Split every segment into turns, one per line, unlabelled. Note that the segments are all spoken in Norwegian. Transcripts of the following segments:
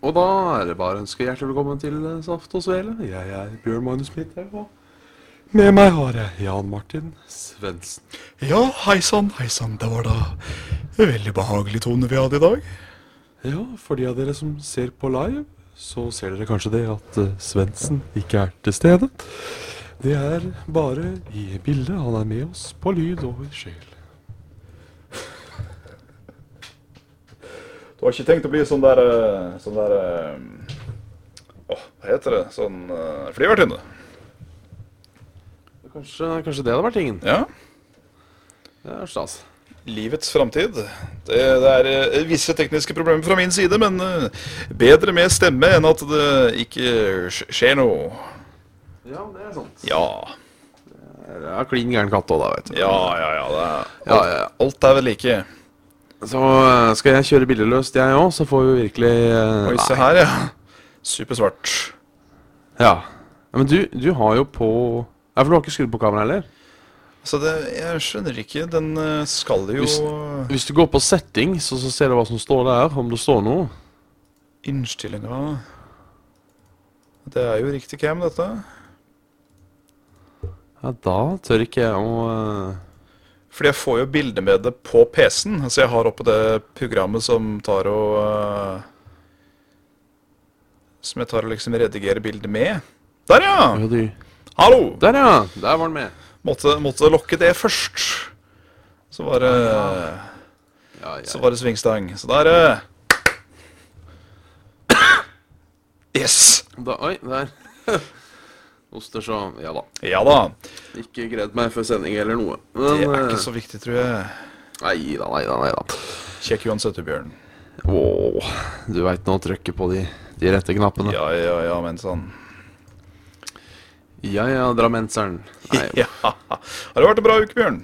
Og da er det bare å ønske hjertelig velkommen til eh, Saft og Svele. Jeg er Bjørn Magnus Midthaug, og med meg har jeg Jan Martin Svendsen.
Ja, hei sann, hei sann. Det var da en veldig behagelig tone vi hadde i dag.
Ja, for de av dere som ser på live, så ser dere kanskje det at eh, Svendsen ikke er til stede. Det er bare i bildet. Han er med oss på lyd og i sjel.
Du har ikke tenkt å bli sånn der eh, Sånn der eh, Åh, hva heter det? Sånn uh, flyvertinne?
Kanskje, kanskje det hadde vært tingen.
Ja.
Det er stas.
Livets framtid. Det, det er eh, visse tekniske problemer fra min side, men eh, bedre med stemme enn at det ikke sk- skjer noe.
Ja, det er sant.
Ja.
Det er klin gæren katt òg, da, vet du.
Ja, ja, ja. Det er, alt,
Ja, ja, ja.
alt er ved like.
Så eh, skal jeg kjøre billeløst, jeg òg, så får vi virkelig eh,
Oi,
nei.
se her, ja. Supersvart.
Ja. Ja, Men du, du har jo på Ja, for du har ikke skrudd på kameraet heller?
Altså, det, jeg skjønner ikke. Den eh, skal jo
Hvis du går på settings, så, så ser du hva som står der, om det står noe.
Innstillinga Det er jo riktig cam, dette.
Ja, da tør ikke jeg å eh,
Fordi jeg får jo bilde med det på PC-en. Altså jeg har oppe det programmet som tar og eh, Som jeg tar og liksom redigerer bildet med. Der, ja!
hva gjør du?
Hallo!
Der, ja! Der var den med.
Måtte, måtte lokke det først. Så var det,
Ja, ja.
så var det svingstang. Så der eh. Yes!
Da, oi, der. Oster, så Ja da.
Ja da.
Ikke gredd meg før sending eller noe. Men
Det er
eh,
ikke så viktig, tror jeg.
Nei da, nei da. Nei, da.
Kjekk uansett, du, Bjørn.
Åh, du veit nå å trykke på de, de rette knappene.
Ja, ja, ja, men sånn.
Ja ja, drammenseren. Nei,
Ja. Har det vært en bra uke, Bjørn?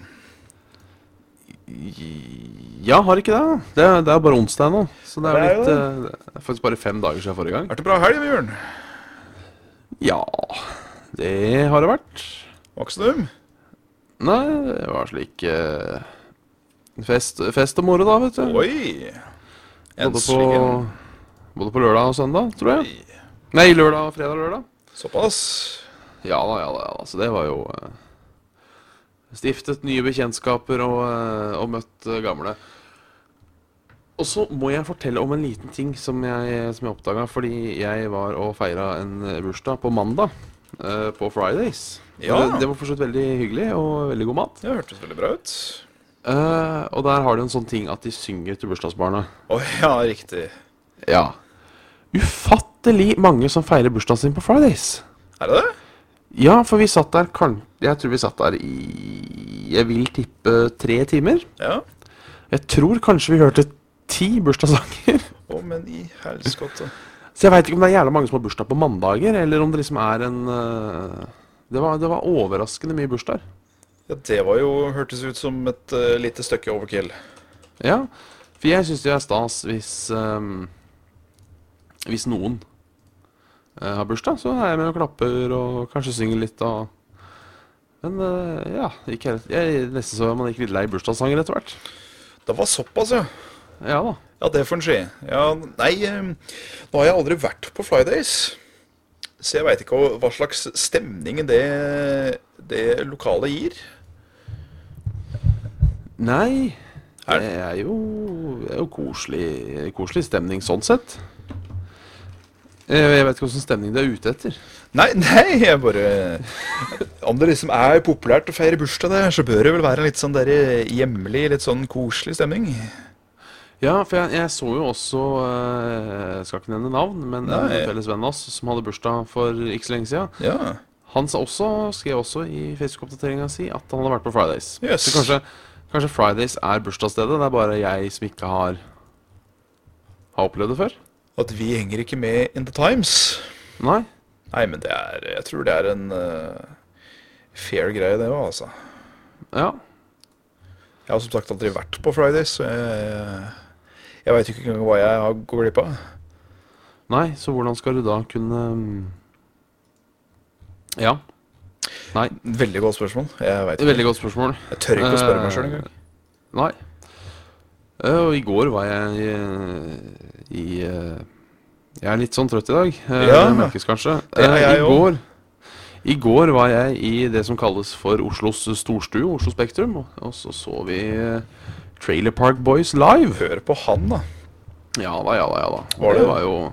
Ja, har ikke det. Det er, det er bare onsdag nå. Så det er,
Det er
jo litt,
jo
eh, det er faktisk bare fem dager siden forrige gang.
Vært en bra helg, Bjørn?
Ja, det har det vært.
Var ikke så dum?
Nei, det var slik eh, fest, fest og moro, da, vet du.
Oi!
både, på,
Endelig.
både på lørdag og søndag, tror jeg. Nei, lørdag, fredag og lørdag.
Såpass.
Ja da, ja da. ja da. Så det var jo eh, Stiftet nye bekjentskaper og, eh, og møtt eh, gamle. Og så må jeg fortelle om en liten ting som jeg, som jeg oppdaga. Fordi jeg var og feira en eh, bursdag på mandag. eh, på Fridays.
Ja.
Det, det var for så vidt veldig hyggelig og veldig god mat.
Det hørtes veldig bra ut.
Eh, og der har de en sånn ting at de synger til bursdagsbarna.
Å ja, riktig.
Ja. Ufattelig mange som feirer bursdagen sin på Fridays.
Er det det?
Ja, for vi satt der kan... Jeg tror vi satt der i Jeg vil tippe tre timer.
Ja.
Jeg tror kanskje vi hørte ti bursdagssanger.
Å, men i helskotte.
Så jeg veit ikke om det er jævla mange som har bursdag på mandager, eller om det liksom er en eh, det, var, det var overraskende mye bursdager.
Ja, det var jo Hørtes ut som et eh, lite stykke overkill.
Ja. For jeg syns det er stas hvis eh, Hvis noen eh, har bursdag, så er jeg med og klapper og kanskje synger litt og Men eh, ja, ikke helt jeg, Nesten så er man gikk litt lei bursdagssanger etter hvert.
Det var såpass, ja.
Ja da.
Ja, det får en skje. Ja, nei, eh, nå har jeg aldri vært på Fridays. Så jeg veit ikke hva- hva slags stemning det, det lokalet gir.
Nei.
Er-
Det er jo, det er jo koselig, koselig stemning sånn sett. Eh, Jeg jeg vet ikke hvilken stemning du er ute etter.
Nei, nei, jeg bare Om det liksom er populært å feire bursdag der, så bør det vel være en litt sånn der hjemlig, litt sånn koselig stemning.
Ja, for jeg, jeg så jo også eh, Jeg skal ikke nevne navn, men en
Nei.
felles venn av oss som hadde bursdag for ikke så lenge siden,
Ja.
han sa også, skrev også i Facebook-oppdateringa si at han hadde vært på Fridays.
Yes.
Så kanskje, kanskje Fridays er bursdagsstedet. Det er bare jeg som ikke har, har opplevd det før.
At vi henger ikke med in the times.
Nei.
Nei, men det er Jeg tror det er en eh, fair greie, det òg, altså.
Ja.
Jeg har som sagt aldri vært på Fridays, så jeg, jeg veit jo ikke engang hva jeg har gått glipp av.
Nei, så hvordan skal du da kunne mm, Ja. Nei,
Veldig godt spørsmål. Jeg vet
veldig
ikke.
godt spørsmål. Eh,
Jeg tør ikke å spørre meg sjøl engang.
Nei. Eh, Og i går var jeg i, eh, i eh, Jeg er litt sånn trøtt i dag. eh,
Ja.
Det merkes kanskje.
Det er
Eh,
jeg
I
også.
går I går var jeg i det som kalles for Oslos storstue, Oslo Spektrum, og- og så så vi eh, Trailer Park Boys live.
Hør på han, da.
Ja da, ja da, ja da.
Var det-
var jo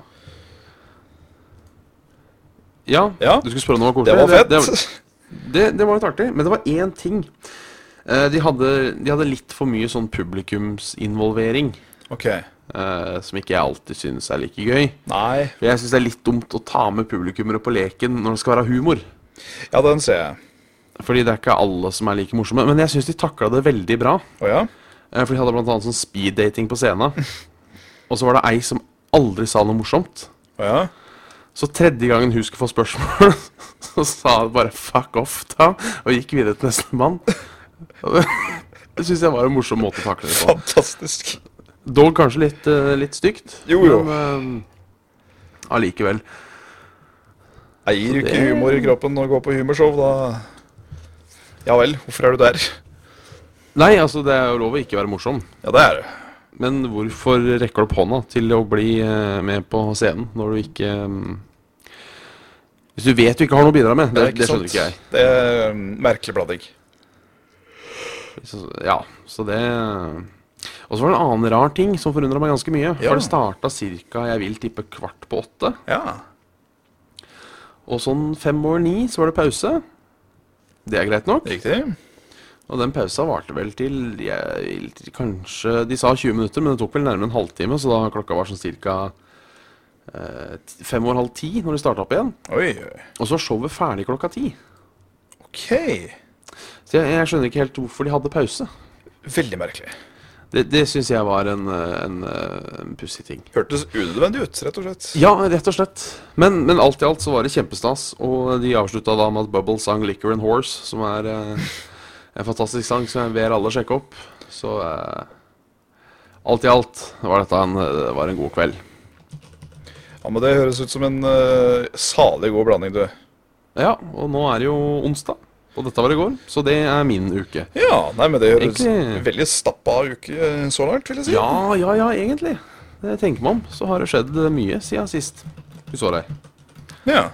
ja,
Ja.
du skulle spørre om noe koselig.
Det var fett.
Det, det, det var litt artig, men det var én ting. Eh, De hadde, de hadde litt for mye sånn publikumsinvolvering,
Ok.
eh, som ikke jeg alltid synes er like gøy.
Nei.
For jeg syns det er litt dumt å ta med publikummere på leken når det skal være humor.
Ja, den ser jeg.
Fordi det er ikke alle som er like morsomme. Men jeg syns de takla det veldig bra.
Å ja?
Eh, For de hadde bl.a. sånn speeddating på scenen. Og så var det ei som aldri sa noe morsomt.
Å ja?
Så tredje gangen hun skulle få spørsmål, så sa hun bare 'fuck off', da, og gikk videre til neste mann. Og Det det syns jeg var en morsom måte å takle det på.
Fantastisk.
Dog kanskje litt, eh, litt stygt.
Jo, jo.
Men eh, allikevel.
Eier jo
det-
ikke humor i kroppen å gå på humorshow, da Ja vel, hvorfor er du der?
Nei, altså, det er jo lov å ikke være morsom.
Ja, det er du.
Men hvorfor rekker du opp hånda til å bli eh, med på scenen når du ikke eh, Hvis du vet du ikke har noe å bidra med? Det, det skjønner ikke jeg.
Det er um, merkelig blanding.
Så, ja, så det Og så var det en annen rar ting som forundra meg ganske mye.
Ja.
For det starta ca. jeg vil tippe kvart på åtte.
Ja.
Og sånn fem over ni så var det pause. Det er greit nok.
Riktig.
Og den pausa varte vel til jeg, kanskje De sa 20 minutter, men det tok vel nærmere en halvtime, så da klokka var sånn ca. Eh, t- fem over halv ti når de starta opp igjen.
Oi, oi.
Og så er showet ferdig klokka ti.
OK.
Så jeg, jeg skjønner ikke helt hvorfor de hadde pause.
Veldig merkelig.
Det, det syns jeg var en, eh, en, eh, en pussig ting.
Hørtes unødvendig ut, rett og slett.
Ja, rett og slett. Men, men alt i alt så var det kjempestas. Og de avslutta da med at Bubble sang 'Liquor and Horse', som er eh, en fantastisk sang som jeg ber alle sjekke opp. Så eh, alt i alt var dette en, eh, det var en god kveld.
Ja, men Det høres ut som en eh, salig god blanding, du.
Ja, og nå er det jo onsdag. Og dette var i går, så det er min uke.
Ja, nei, men det høres
Egentlig-
veldig stappa uke eh, så langt, vil jeg si.
Ja, ja, ja, egentlig. Det tenker man om, så har det skjedd mye siden sist vi så deg.
Ja.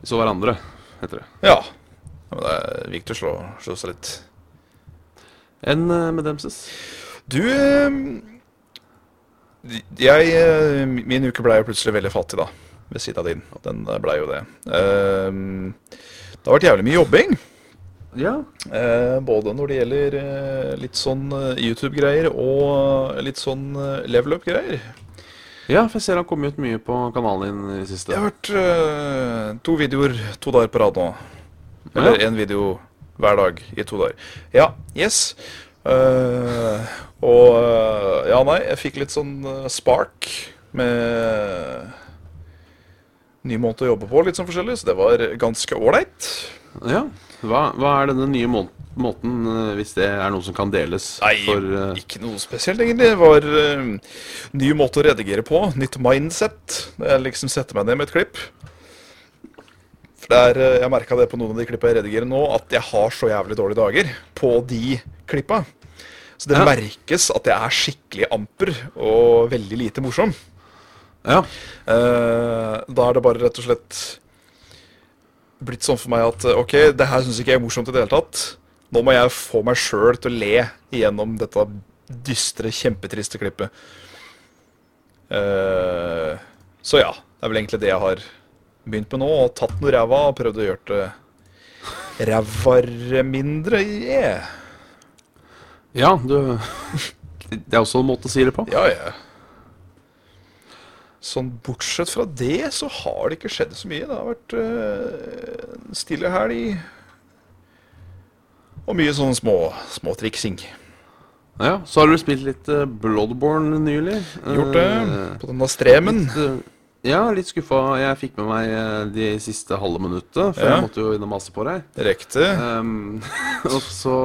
Vi så hverandre, heter det.
ja. Ja, Men det er viktig å slå, slå seg litt.
Enn eh, med demses.
Du eh, Jeg eh, Min uke blei jo plutselig veldig fattig, da. Ved siden av din. Den eh, blei jo det. Eh, det har vært jævlig mye jobbing.
Ja.
Eh, både når det gjelder eh, litt sånn eh, YouTube-greier og litt sånn eh, level up-greier.
ja, for jeg ser det har kommet ut mye på kanalen din i det siste.
Jeg har hørt eh, to videoer to dager på rad nå.
Ja.
Eller én video hver dag i to dager. Ja, yes. Eh, og eh, Ja, nei, jeg fikk litt sånn eh, spark med ny måte å jobbe på, litt sånn forskjellig, så det var ganske ålreit.
Ja. Hva, hva er denne nye må måten, eh, hvis det er noe som kan deles?
Nei,
For, eh,
ikke noe spesielt, egentlig. Det var eh, ny måte å redigere på. Nytt mindset. Når jeg liksom setter meg ned med et klipp. For det er, eh, Jeg merka det på noen av de klippa jeg redigerer nå, at jeg har så jævlig dårlige dager på de klippa. Så det
Ja.
merkes at jeg er skikkelig amper og veldig lite morsom.
ja.
Eh, da er det bare rett og slett blitt sånn for meg at eh, OK, det her syns ikke jeg er morsomt i det hele tatt. Nå må jeg få meg sjøl til å le gjennom dette dystre, kjempetriste klippet. Eh, så ja. Det er vel egentlig det jeg har begynt med nå. Og tatt noe ræva og prøvd å gjøre det rævare mindre. Yeah.
ja, du Det er også en måte å si det på.
Ja, ja. Sånn bortsett fra det, så har det ikke skjedd så mye. Det har vært øh, en stille helg. Og mye sånne små, små triksing.
Ja, Så har du spilt litt eh, Bloodborne nylig.
Gjort det
Eh,
på denne stremen.
Litt, eh, ja, litt skuffa. Jeg fikk med meg eh, de siste halve minuttet, for
Ja.
jeg måtte jo inn og mase på deg.
Direkte.
Ehm, og så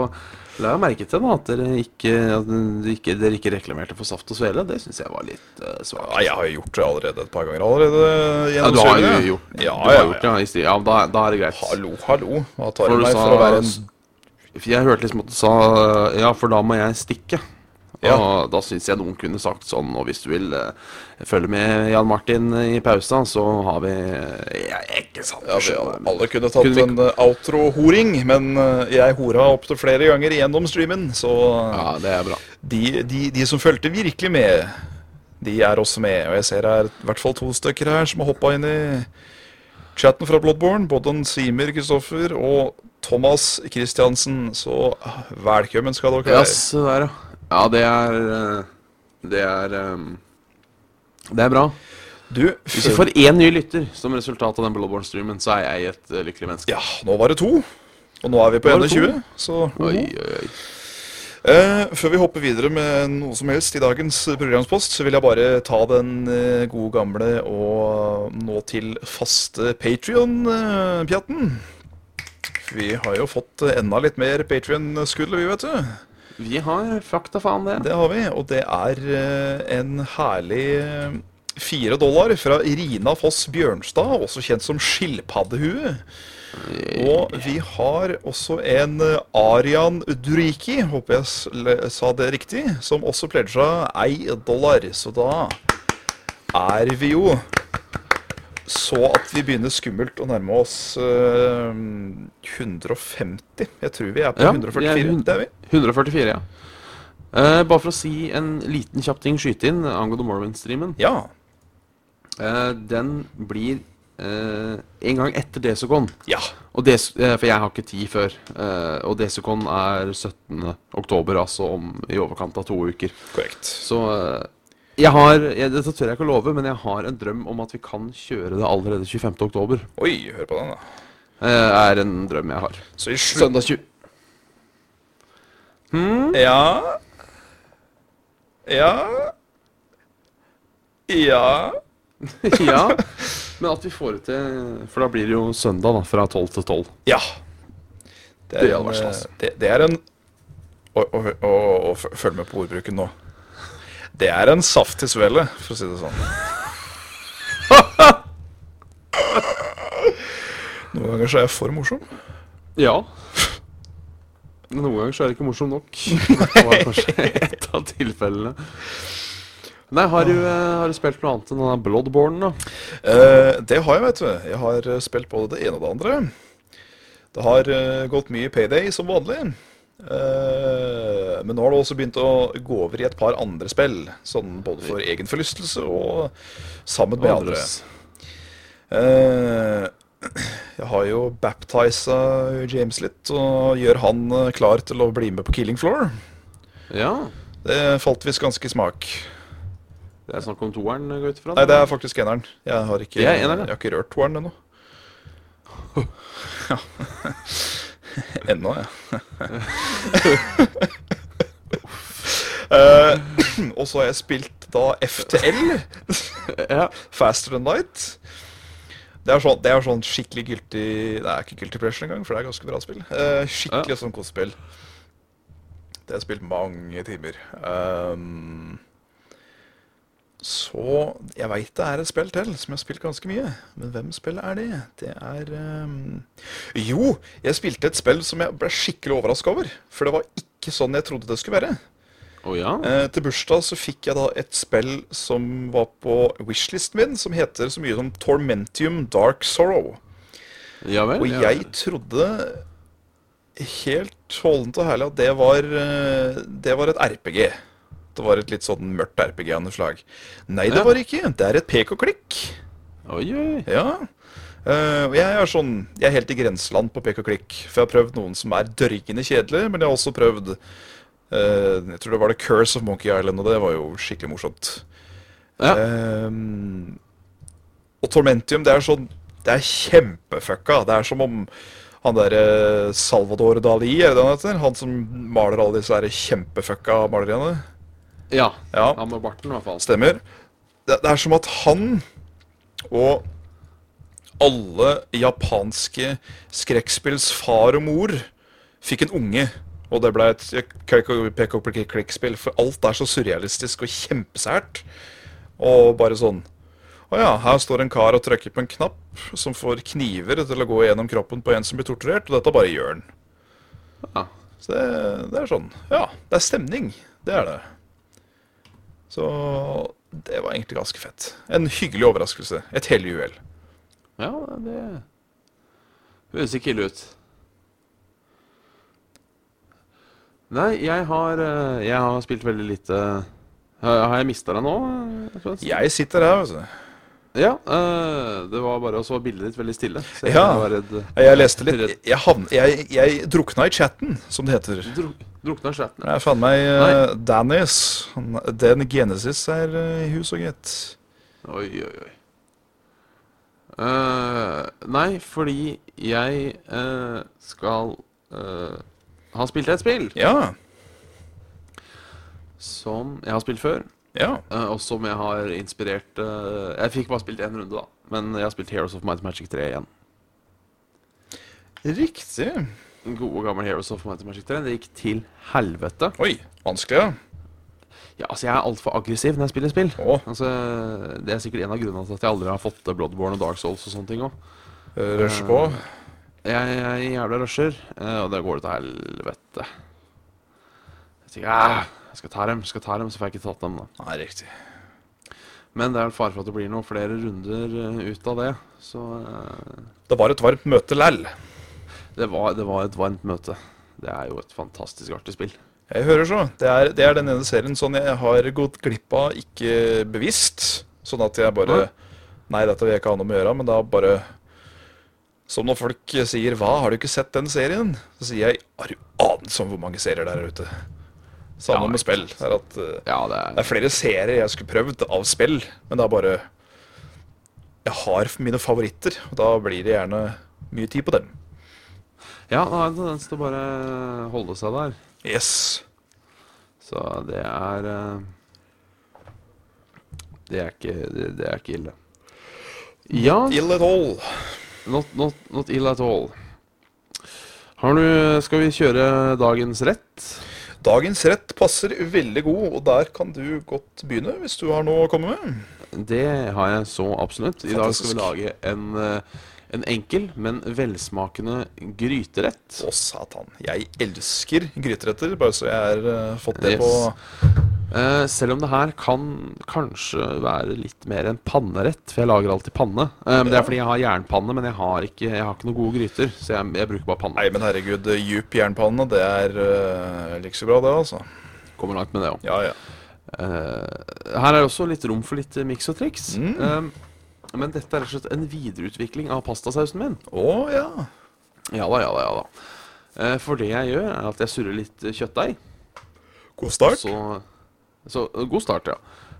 la jeg merke til da, at dere ikke, at dere ikke, dere ikke reklamerte for Saft og Svele. Det syns jeg var litt uh,
Ja,
svakt.
jeg har jo gjort det allerede et par ganger. allerede
Ja,
gjennom
du har jo
streamen, ja.
gjort du
Ja,
har
ja,
gjort det.
ja.
Ja, i sti- ja, da, da er det greit.
Hallo, hallo. Hva tar
For
du
du
meg
sa-
for å være en
For Jeg hørte liksom at du sa ja, for da må jeg stikke. Og
Ja.
Og da syns jeg noen kunne sagt sånn Og hvis du vil eh, følge med Jan Martin eh, i pausen, så har vi ja, Ikke sant?
Ja,
du
vi
skjønner.
alle kunne tatt
Kunne vi-
en eh, outro-horing, men eh, jeg hora opptil flere ganger gjennom streamen, så
Ja, det er bra.
de, de, de som fulgte virkelig med, de er også med. Og jeg ser her i hvert fall to stykker her som har hoppa inn i chatten fra Bloodborne. Både en Simer Kristoffer og Thomas Kristiansen. Så ah, velkommen skal dere
Ja,
være.
se der, ja. Ja, det er eh, Det er ehm, Det er bra.
Du,
Hvis vi
før-
får én ny lytter som resultat av den Bloodborne-streamen, så er jeg et eh, lykkelig menneske.
Ja, nå var det to. Og nå er vi på
Nå var det
21, så
Oi, oi, oi.
Eh, før vi hopper videre med noe som helst i dagens programspost, så vil jeg bare ta den eh, gode gamle og nå til faste Patrion-pjatten. Vi har jo fått eh, enda litt mer Patrion-skudd, vi, vet du.
Vi har fakta faen det.
Det har vi, og det er eh, en herlig eh, fire dollar fra Irina Foss Bjørnstad, også kjent som Skilpaddehue. Og vi har også en eh, Arian Duriki, håper jeg s- le- sa det riktig, som også pledga ei dollar. Så da er vi jo så at vi begynner skummelt å nærme oss eh, 150. Jeg tror vi er på
Ja, vi er
144.
hun-
Det er vi.
144, ja. Eh, bare for å si en liten kjapp ting skyte inn eh, angående Morrowind-streamen.
Ja.
Eh, den blir eh, en gang etter Desocon.
Ja.
Og Des eh, for jeg har ikke tid før. Eh, og Desocon er 17. oktober, altså om i overkant av to uker.
Korrekt.
Så eh, jeg har jeg, Dette tør jeg ikke å love, men jeg har en drøm om at vi kan kjøre det allerede 25. oktober.
Oi, hør på den, da.
Eh, er en drøm jeg har.
Så i slutt
Søndag 20...
Ja Ja Ja
ja. Men at vi får det til For da blir det jo søndag, da. Fra 12 til 12.
Ja.
Det
Det er
hadde
en,
vært stas.
eh, det, det er en å, å, å, å, f- Følg med på ordbruken nå. Det er en saftig svelle, for å si det sånn. Noen ganger så er jeg for morsom.
Ja. Men noen ganger så er det ikke morsom nok. Det var kanskje et av tilfellene. Nei, har du, eh, har du spilt noe annet enn den der Bloodborne, da?
Eh, det har jeg, vet du. Jeg har eh, spilt både det ene og det andre. Det har eh, gått mye payday som vanlig. Eh, men nå har det også begynt å gå over i et par andre spill. Sånn både for egen forlystelse og sammen med andre. Eh, jeg har jo baptisa James litt og gjør han eh, klar til å bli med på Killing Floor.
Ja.
Det falt visst ganske i smak.
Det er snakk om toeren, eh, går jeg ut ifra?
Nei, det er faktisk eneren. Jeg har ikke,
Det er eneren, ja.
jeg har ikke rørt toeren ennå. Ja. ennå, ja. Eh, og så har jeg spilt da FTL,
Ja.
Faster Than Light. Det er, sånn, det er sånn skikkelig guilty Det er ikke guilty pleasure engang, for det er ganske bra spill. Eh, skikkelig sånn kosespill. Det har jeg spilt mange timer. Ehm, så Jeg veit det er et spill til som jeg har spilt ganske mye. Men hvem spill er det? Det er ehm, Jo, jeg spilte et spill som jeg ble skikkelig overraska over. For det var ikke sånn jeg trodde det skulle være.
Å ja?
Eh, til bursdag så fikk jeg da et spill som var på wishlisten min, som heter så mye som Tormentium Dark Sorrow.
Ja vel?
Og
ja.
jeg trodde helt holdent og herlig at det var, eh, det var et RPG. Det var et litt sånn mørkt RPG av noe slag. Nei, det
Ja.
var det ikke. Det er et pek og klikk.
Oi, oi.
Ja. Eh, og jeg er sånn Jeg er helt i grenseland på pek og klikk. For jeg har prøvd noen som er dørgende kjedelige, men jeg har også prøvd eh, Jeg tror det var The Curse of Monkey Island, og det var jo skikkelig morsomt.
Ja.
Ehm, og Tormentium, det er sånn Det er kjempefucka. Det er som om han derre Salvador Dali, er det han heter? Han som maler alle disse her kjempefucka maleriene.
ja.
Ja.
Han med barten, i hvert fall.
Stemmer. Det, det er som at han og alle japanske skrekkspills far og mor fikk en unge. Og det ble et pek-og-klikk-spill, for alt er så surrealistisk og kjempesært. Og bare sånn Å ja, her står en kar og trykker på en knapp som får kniver til å gå gjennom kroppen på en som blir torturert, og dette bare gjør han.
Ja.
Så det, det er sånn. Ja, det er stemning. Det er det. Så det var egentlig ganske fett. En hyggelig overraskelse. Et hellig uhell.
Ja, det høres ikke ille ut. Nei, jeg har, eh, jeg har spilt veldig lite Har har jeg mista deg nå? eh, Frans?
Jeg sitter her, altså.
Ja, eh, det var bare og så var bildet ditt veldig stille. Så jeg
Ja.
var redd.
Jeg leste litt. Jeg, havn, jeg, jeg drukna i chatten, som det heter.
Druk, drukna i chatten.
Jeg fant meg uh, Dennis. Den Genesis er eh, i hus og gitt.
Oi, oi, oi. Eh, nei, fordi jeg eh, skal eh, ha spilt et spill
Ja.
som jeg har spilt før,
Ja.
eh, og som jeg har inspirert eh, Jeg fikk bare spilt én runde, da, men jeg har spilt Heroes of Might and Magic 3 igjen.
Riktig.
Den gode, gamle Heroes of Might and Magic 3. Det gikk til helvete.
Oi. Vanskelig, ja.
Ja, altså, jeg er altfor aggressiv når jeg spiller spill.
Å,
Altså, Det er sikkert en av grunnene til at jeg aldri har fått eh, Bloodborne og Dark Souls og sånne ting òg.
rusher på.
Jeg, jeg jævla rusher, eh, og det går til helvete. Jeg tenker, «Ah, jeg skal ta dem, jeg skal ta dem, så får jeg ikke tatt dem da.
Nei, riktig.
Men det er vel fare for at det blir noen flere runder eh, ut av det. Så eh,
Det var et varmt møte læll.
det var, det var et varmt møte. Det er jo et fantastisk artig spill.
Jeg hører så. Det er, det er den ene serien sånn jeg har gått glipp av, ikke bevisst. Sånn at jeg bare
Nei.
Nei, dette vil jeg ikke ha noe med å gjøre, men da bare Som når folk sier 'Hva, har du ikke sett den serien?' Så sier jeg 'Har du anelse om hvor mange serier det er der ute?' Samme
Ja,
med
ikke
spill.
sant.
Det er, at, eh,
Ja, det
det
er,
er flere serier jeg skulle prøvd av spill, men det er bare Jeg har mine favoritter, og da blir det gjerne mye tid på dem.
ja, det har en tendens til å bare eh, holde seg der.
Yes.
Så det er eh, Det er ikke, det, det er ikke ille. Ja,
Ill at all.
Not, not, not ill at all. Har du, skal vi kjøre dagens rett?
Dagens rett passer veldig god, og der kan du godt begynne hvis du har noe å komme med.
Det har jeg så absolutt. I dag skal
Fantastisk.
vi lage en, eh, en enkel, men velsmakende gryterett.
Å, satan. Jeg elsker gryteretter, bare så jeg har eh, fått det
Yes.
på
Eh, selv om det her kan kanskje være litt mer en pannerett, for jeg lager alltid panne. Eh, men det
Ja.
er fordi jeg har jernpanne, men jeg har ikke, jeg har ikke noen gode gryter. Så jeg, jeg bruker bare
Nei,
panne.
men herregud, djup jernpanne, det er eh, like så bra, det, altså.
Kommer langt med det òg.
Ja, ja.
Eh, her er det også litt rom for litt eh, miks og triks.
Mm.
Eh, men dette er rett og slett en videreutvikling av pastasausen min.
Å, ja.
Ja da, ja da, ja da. Eh, For det jeg gjør, er at jeg surrer litt eh, kjøttdeig.
God start.
Så, så eh, god start, ja.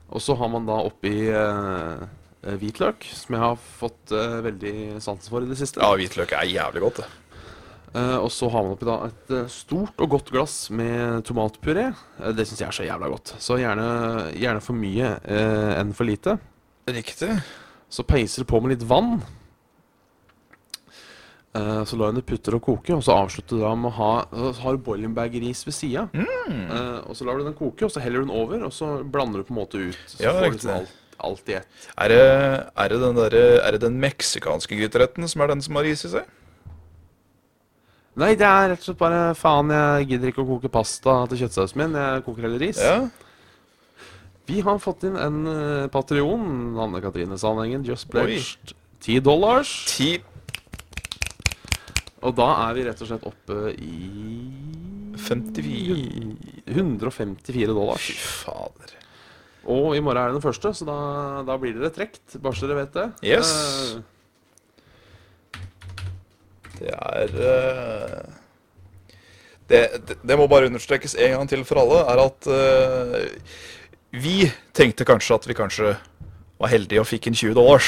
Og så har man da oppi eh, eh, hvitløk, som jeg har fått eh, veldig sansen for i det siste.
Ja, hvitløk er jævlig godt, det.
Eh, og så har man oppi da et eh, stort og godt glass med tomatpuré. Eh, det syns jeg er så jævla godt. Så gjerne, gjerne for mye eh, enn for lite.
Riktig.
Så peiser du på med litt vann. Eh, Så lar du det putre og koke, og så avslutter du da med å ha så har du boiling bag-ris ved sida.
Mm.
Eh, Og så lar du den koke, og så heller du den over, og så blander du på en måte ut. Så
Ja,
får du
riktig.
liksom alt, alt i ett.
Er det, er, det den derre- er det den meksikanske gryteretten som er den som har is i seg?
Nei, det er rett og slett bare faen, jeg gidder ikke å koke pasta til kjøttsausen min. Jeg koker heller ris.
Ja.
Vi har fått inn en eh, Patreon, Anne Katrine Sandhengen, just pledged 10 dollars.
Ti
Og da er vi rett og slett oppe i
54.
154 dollar.
Fy fader.
Og i morgen er det den første, så da, da blir dere trukket. Bare så dere vet det.
Yes.
Eh,
Det er eh, det, det, det må bare understrekes en gang til for alle, er at eh, vi tenkte kanskje at vi kanskje var heldige og fikk en 20 dollars.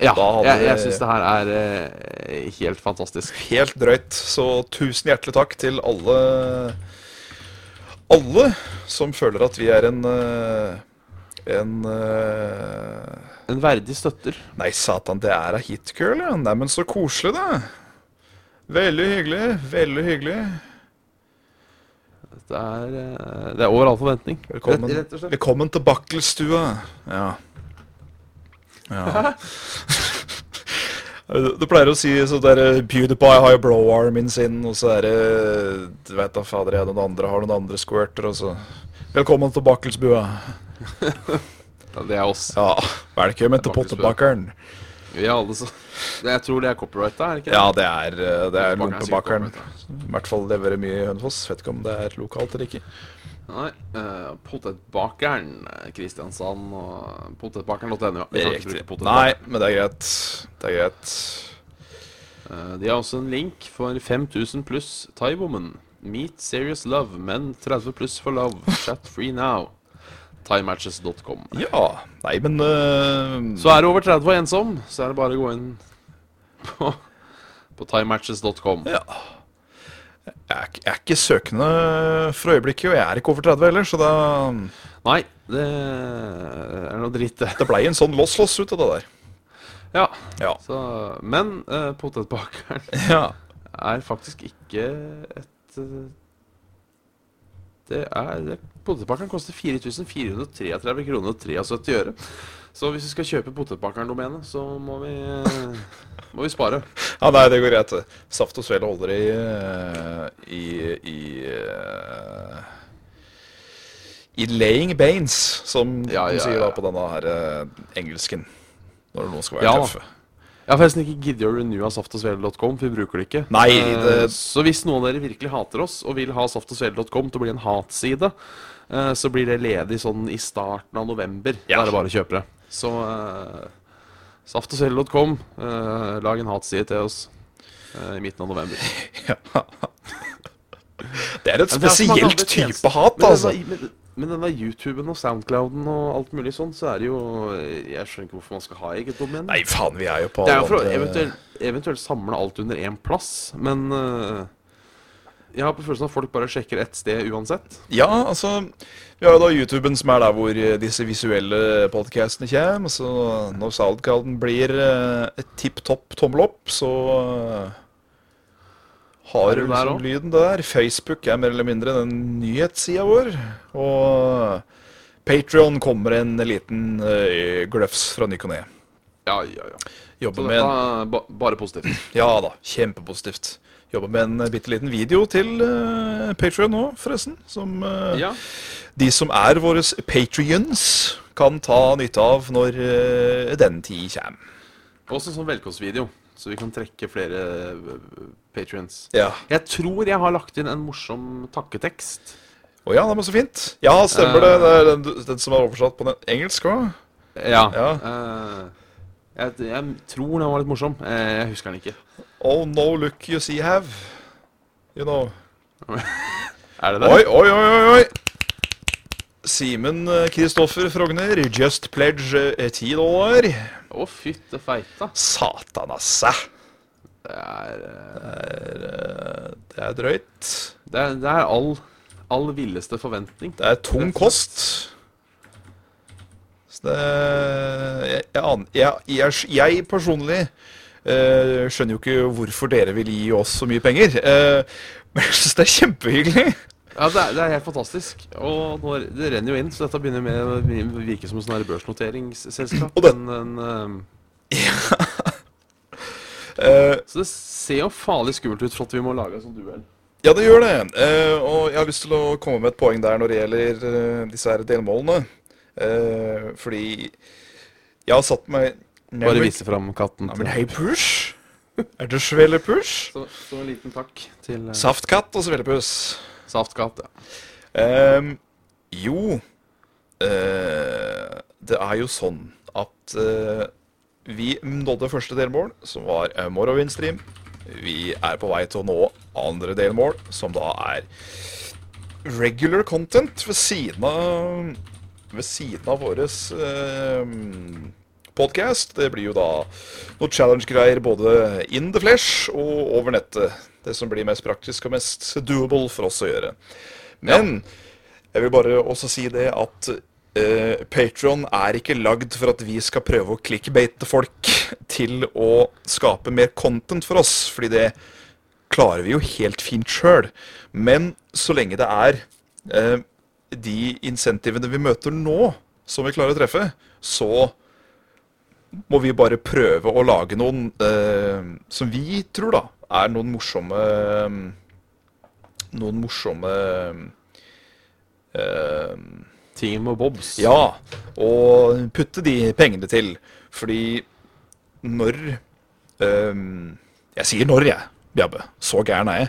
ja,
Da hadde
jeg, jeg
vi-
syns det her er eh, helt fantastisk.
Helt drøyt. Så tusen hjertelig takk til alle alle som føler at vi er en eh, en eh,
En verdig støtter.
Nei, satan, det er da hitgirl, ja. Neimen, så koselig, da. Veldig hyggelig. Veldig hyggelig.
Det er, eh, det er over all forventning.
Velkommen,
Rett, rett og slett.
velkommen til Bakkelstua. Ja. ja. Du du pleier å si så der PewDiePie har jo blowarmen sin, og så er det Du vet da fader, jeg, noen andre har noen andre squirter, og så Velkommen til Bakkelsbua.
Ja, det er oss.
Ja, velkommen til
Bakkespø.
pottebakeren.
Vi er alle så Det- Jeg tror det er copyright, da? er det ikke det?
Ja, det er, eh, det
Pottebakeren er
er lompebakeren.
sikkert
I hvert fall leverer mye i Hønefoss. Vet ikke om det er lokalt eller ikke.
Nei. eh, potetbakeren eh, Kristiansand og potetbakeren.no. ja. Vi
Det
kan
er
ikke
riktig.
bruke potetbakeren.
Nei, men det er greit. Det er greit.
Eh, De har også en link for 5000 pluss Thaiwoman. Meet Serious Love, men 30 pluss for love. Chat free now. Thaimatches.com.
Ja. Nei, men eh,
Så er du over 30 og ensom, så er det bare å gå inn på, på thaimatches.com.
Ja. Jeg er, ikke- jeg er ikke søkende for øyeblikket, og jeg er ikke over 30 heller, så da
Nei, det er noe dritt, det.
Det blei en sånn loss-loss ut av det der.
Ja.
Ja.
Så, men eh, potetbakeren er faktisk ikke et eh, Det er det- Potetbakeren koster 4433 kroner og 73 øre. Så hvis vi skal kjøpe potetbakeren-domenet, så må vi, eh, må vi spare.
ja, nei, det går greit. det. Saft og svele holder i eh, i i, eh, i laying banes, som
Ja,
de
ja,
sier
ja.
da på denne her eh, engelsken. Når noen skal være
Ja.
tøffe.
Jeg har forresten ikke giddet å renewe saftogsvele.com, for vi bruker det ikke.
Nei,
Eh,
det-
Så hvis noen av dere virkelig hater oss og vil ha saftogsvele.com til å bli en hatside, eh, så blir det ledig sånn i starten av november.
Ja.
Da er det bare å kjøpe det. Så eh, saftogsvele.com, eh, lag en hatside til oss eh, i midten av november.
Ja. Det er et
Men det er så mange andre
spesielt
tjenester.
type hat,
Men
altså.
denne- Men, men denne YouTuben og Soundclouden og alt mulig sånn, så er det jo eh, Jeg skjønner ikke hvorfor man skal ha eget domene.
Nei, faen, vi er jo på
Det er jo for å
alle andre-
eventuelt, eventuelt samle alt under én plass, men øh, Jeg har på følelsen at folk bare sjekker ett sted uansett.
Ja, altså Vi har jo da YouTuben, som er der hvor eh, disse visuelle podcastene kommer. Så når Soundclouden blir eh, et tipp topp tommel opp, så eh,
Er
har
du
du
der
liksom
også?
lyden der. Facebook er mer eller mindre den nyhetssida vår. Og Patrion kommer en liten eh, gløfs fra ny og ne.
Ja, ja, ja. Så
Jobber
dette
med en
er ba bare positivt.
Ja da, kjempepositivt. Jobber med en eh, bitte liten video til uh, Patrion nå, forresten. Som eh,
Ja.
de som er våre patrions, kan ta nytte av når eh, den tid kommer.
Også som velkomstvideo, så vi kan trekke flere øh, patrions.
Ja.
Jeg tror jeg har lagt inn en morsom takketekst.
Å ja, det var så fint. Ja, stemmer det. det er den, du- den som er oversatt på den engelsk òg.
Ja.
Ja.
øh, jeg, jeg tror den var litt morsom. Eh, Jeg husker den ikke.
Oh no look you see have. You know.
Er det det?
Oi, oi, oi, oi, oi. Simen eh, Kristoffer Frogner, just pledge eh, 10 dollar.
Å, fytte feita.
Satan, Eh, asse.
Det er, øh,
Det er drøyt.
det er, det er all, all villeste forventning.
Det er tung kost. Så det Jeg, jeg, aner- jeg, jeg, jeg personlig eh, skjønner jo ikke hvorfor dere vil gi oss så mye penger. eh, men jeg syns det er kjempehyggelig.
Ja, det er, det er helt fantastisk. Og nå, er- det renner jo inn, så dette begynner med å virke som en sånn her børsnoteringsselskap.
Og det-
Men, men, ehm,
Eh,
så det ser jo farlig skummelt ut for at vi må lage en sånn duell.
ja, det gjør det. Eh, og jeg har lyst til å komme med et poeng der når det gjelder eh, disse her delmålene. Eh, fordi jeg har satt meg
Bare vise fram katten.
Ja, men hei, push. Er det svelepush?
Så, så en liten takk til eh,
Saftkatt og svelepuss.
Saftkatt. Ja.
Ehm, jo eh, Det er jo sånn at eh, vi nådde første delmål, som var eh, Morrowind-stream. Vi er på vei til å nå andre delmål, som da er regular content ved siden av, ved siden av våres eh, podcast. Det blir jo da noe challenge-greier både in the flesh og over nettet. Det som blir mest praktisk og mest doable for oss å gjøre. Men jeg vil bare også si det at uh, Patron er ikke lagd for at vi skal prøve å clickbate folk til å skape mer content for oss, fordi det klarer vi jo helt fint sjøl. Men så lenge det er eh, de insentivene vi møter nå, som vi klarer å treffe, så må vi bare prøve å lage noen eh, som vi tror da er noen morsomme Noen morsomme eh,
ting med Bobs.
Ja, og putte de pengene til. Fordi når øhm, Jeg sier når, jeg, Bjabbe. Så gæren er jeg.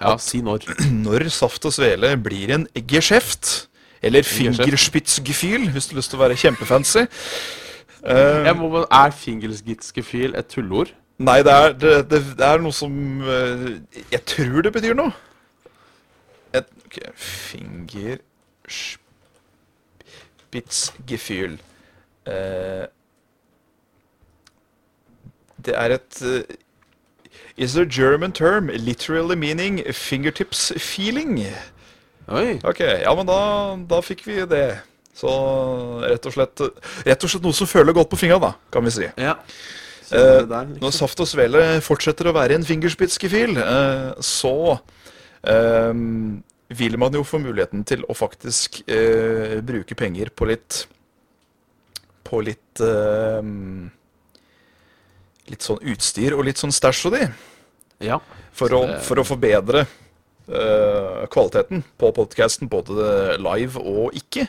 Ja, si når.
Når Saft og Svele blir en geskjeft, eller fingerspitzgefühl, hvis du har lyst til å være kjempefancy øhm,
Jeg må, bare- er fingelsgitskefil et tulleord?
Nei, det er, det, det, det er noe som øh, Jeg tror det betyr noe. Et, ok, Fingerspitzgefühl Eh, Det er et eh, Is there a German term literally meaning fingertips feeling?
Oi.
Ok, ja, men da, da fikk vi det. Så rett og slett Rett og slett noe som føler godt på fingra, da, kan vi si.
Ja. Så
Eh,
det der,
Når
liksom.
Saft og Svele fortsetter å være en fingerspitzgefühl, eh, så eh, vil man jo få muligheten til å faktisk eh, bruke penger på litt På litt eh, Litt sånn utstyr og litt sånn stæsj og de,
Ja.
for å,
det-
for å forbedre eh, kvaliteten på podkasten, både live og ikke.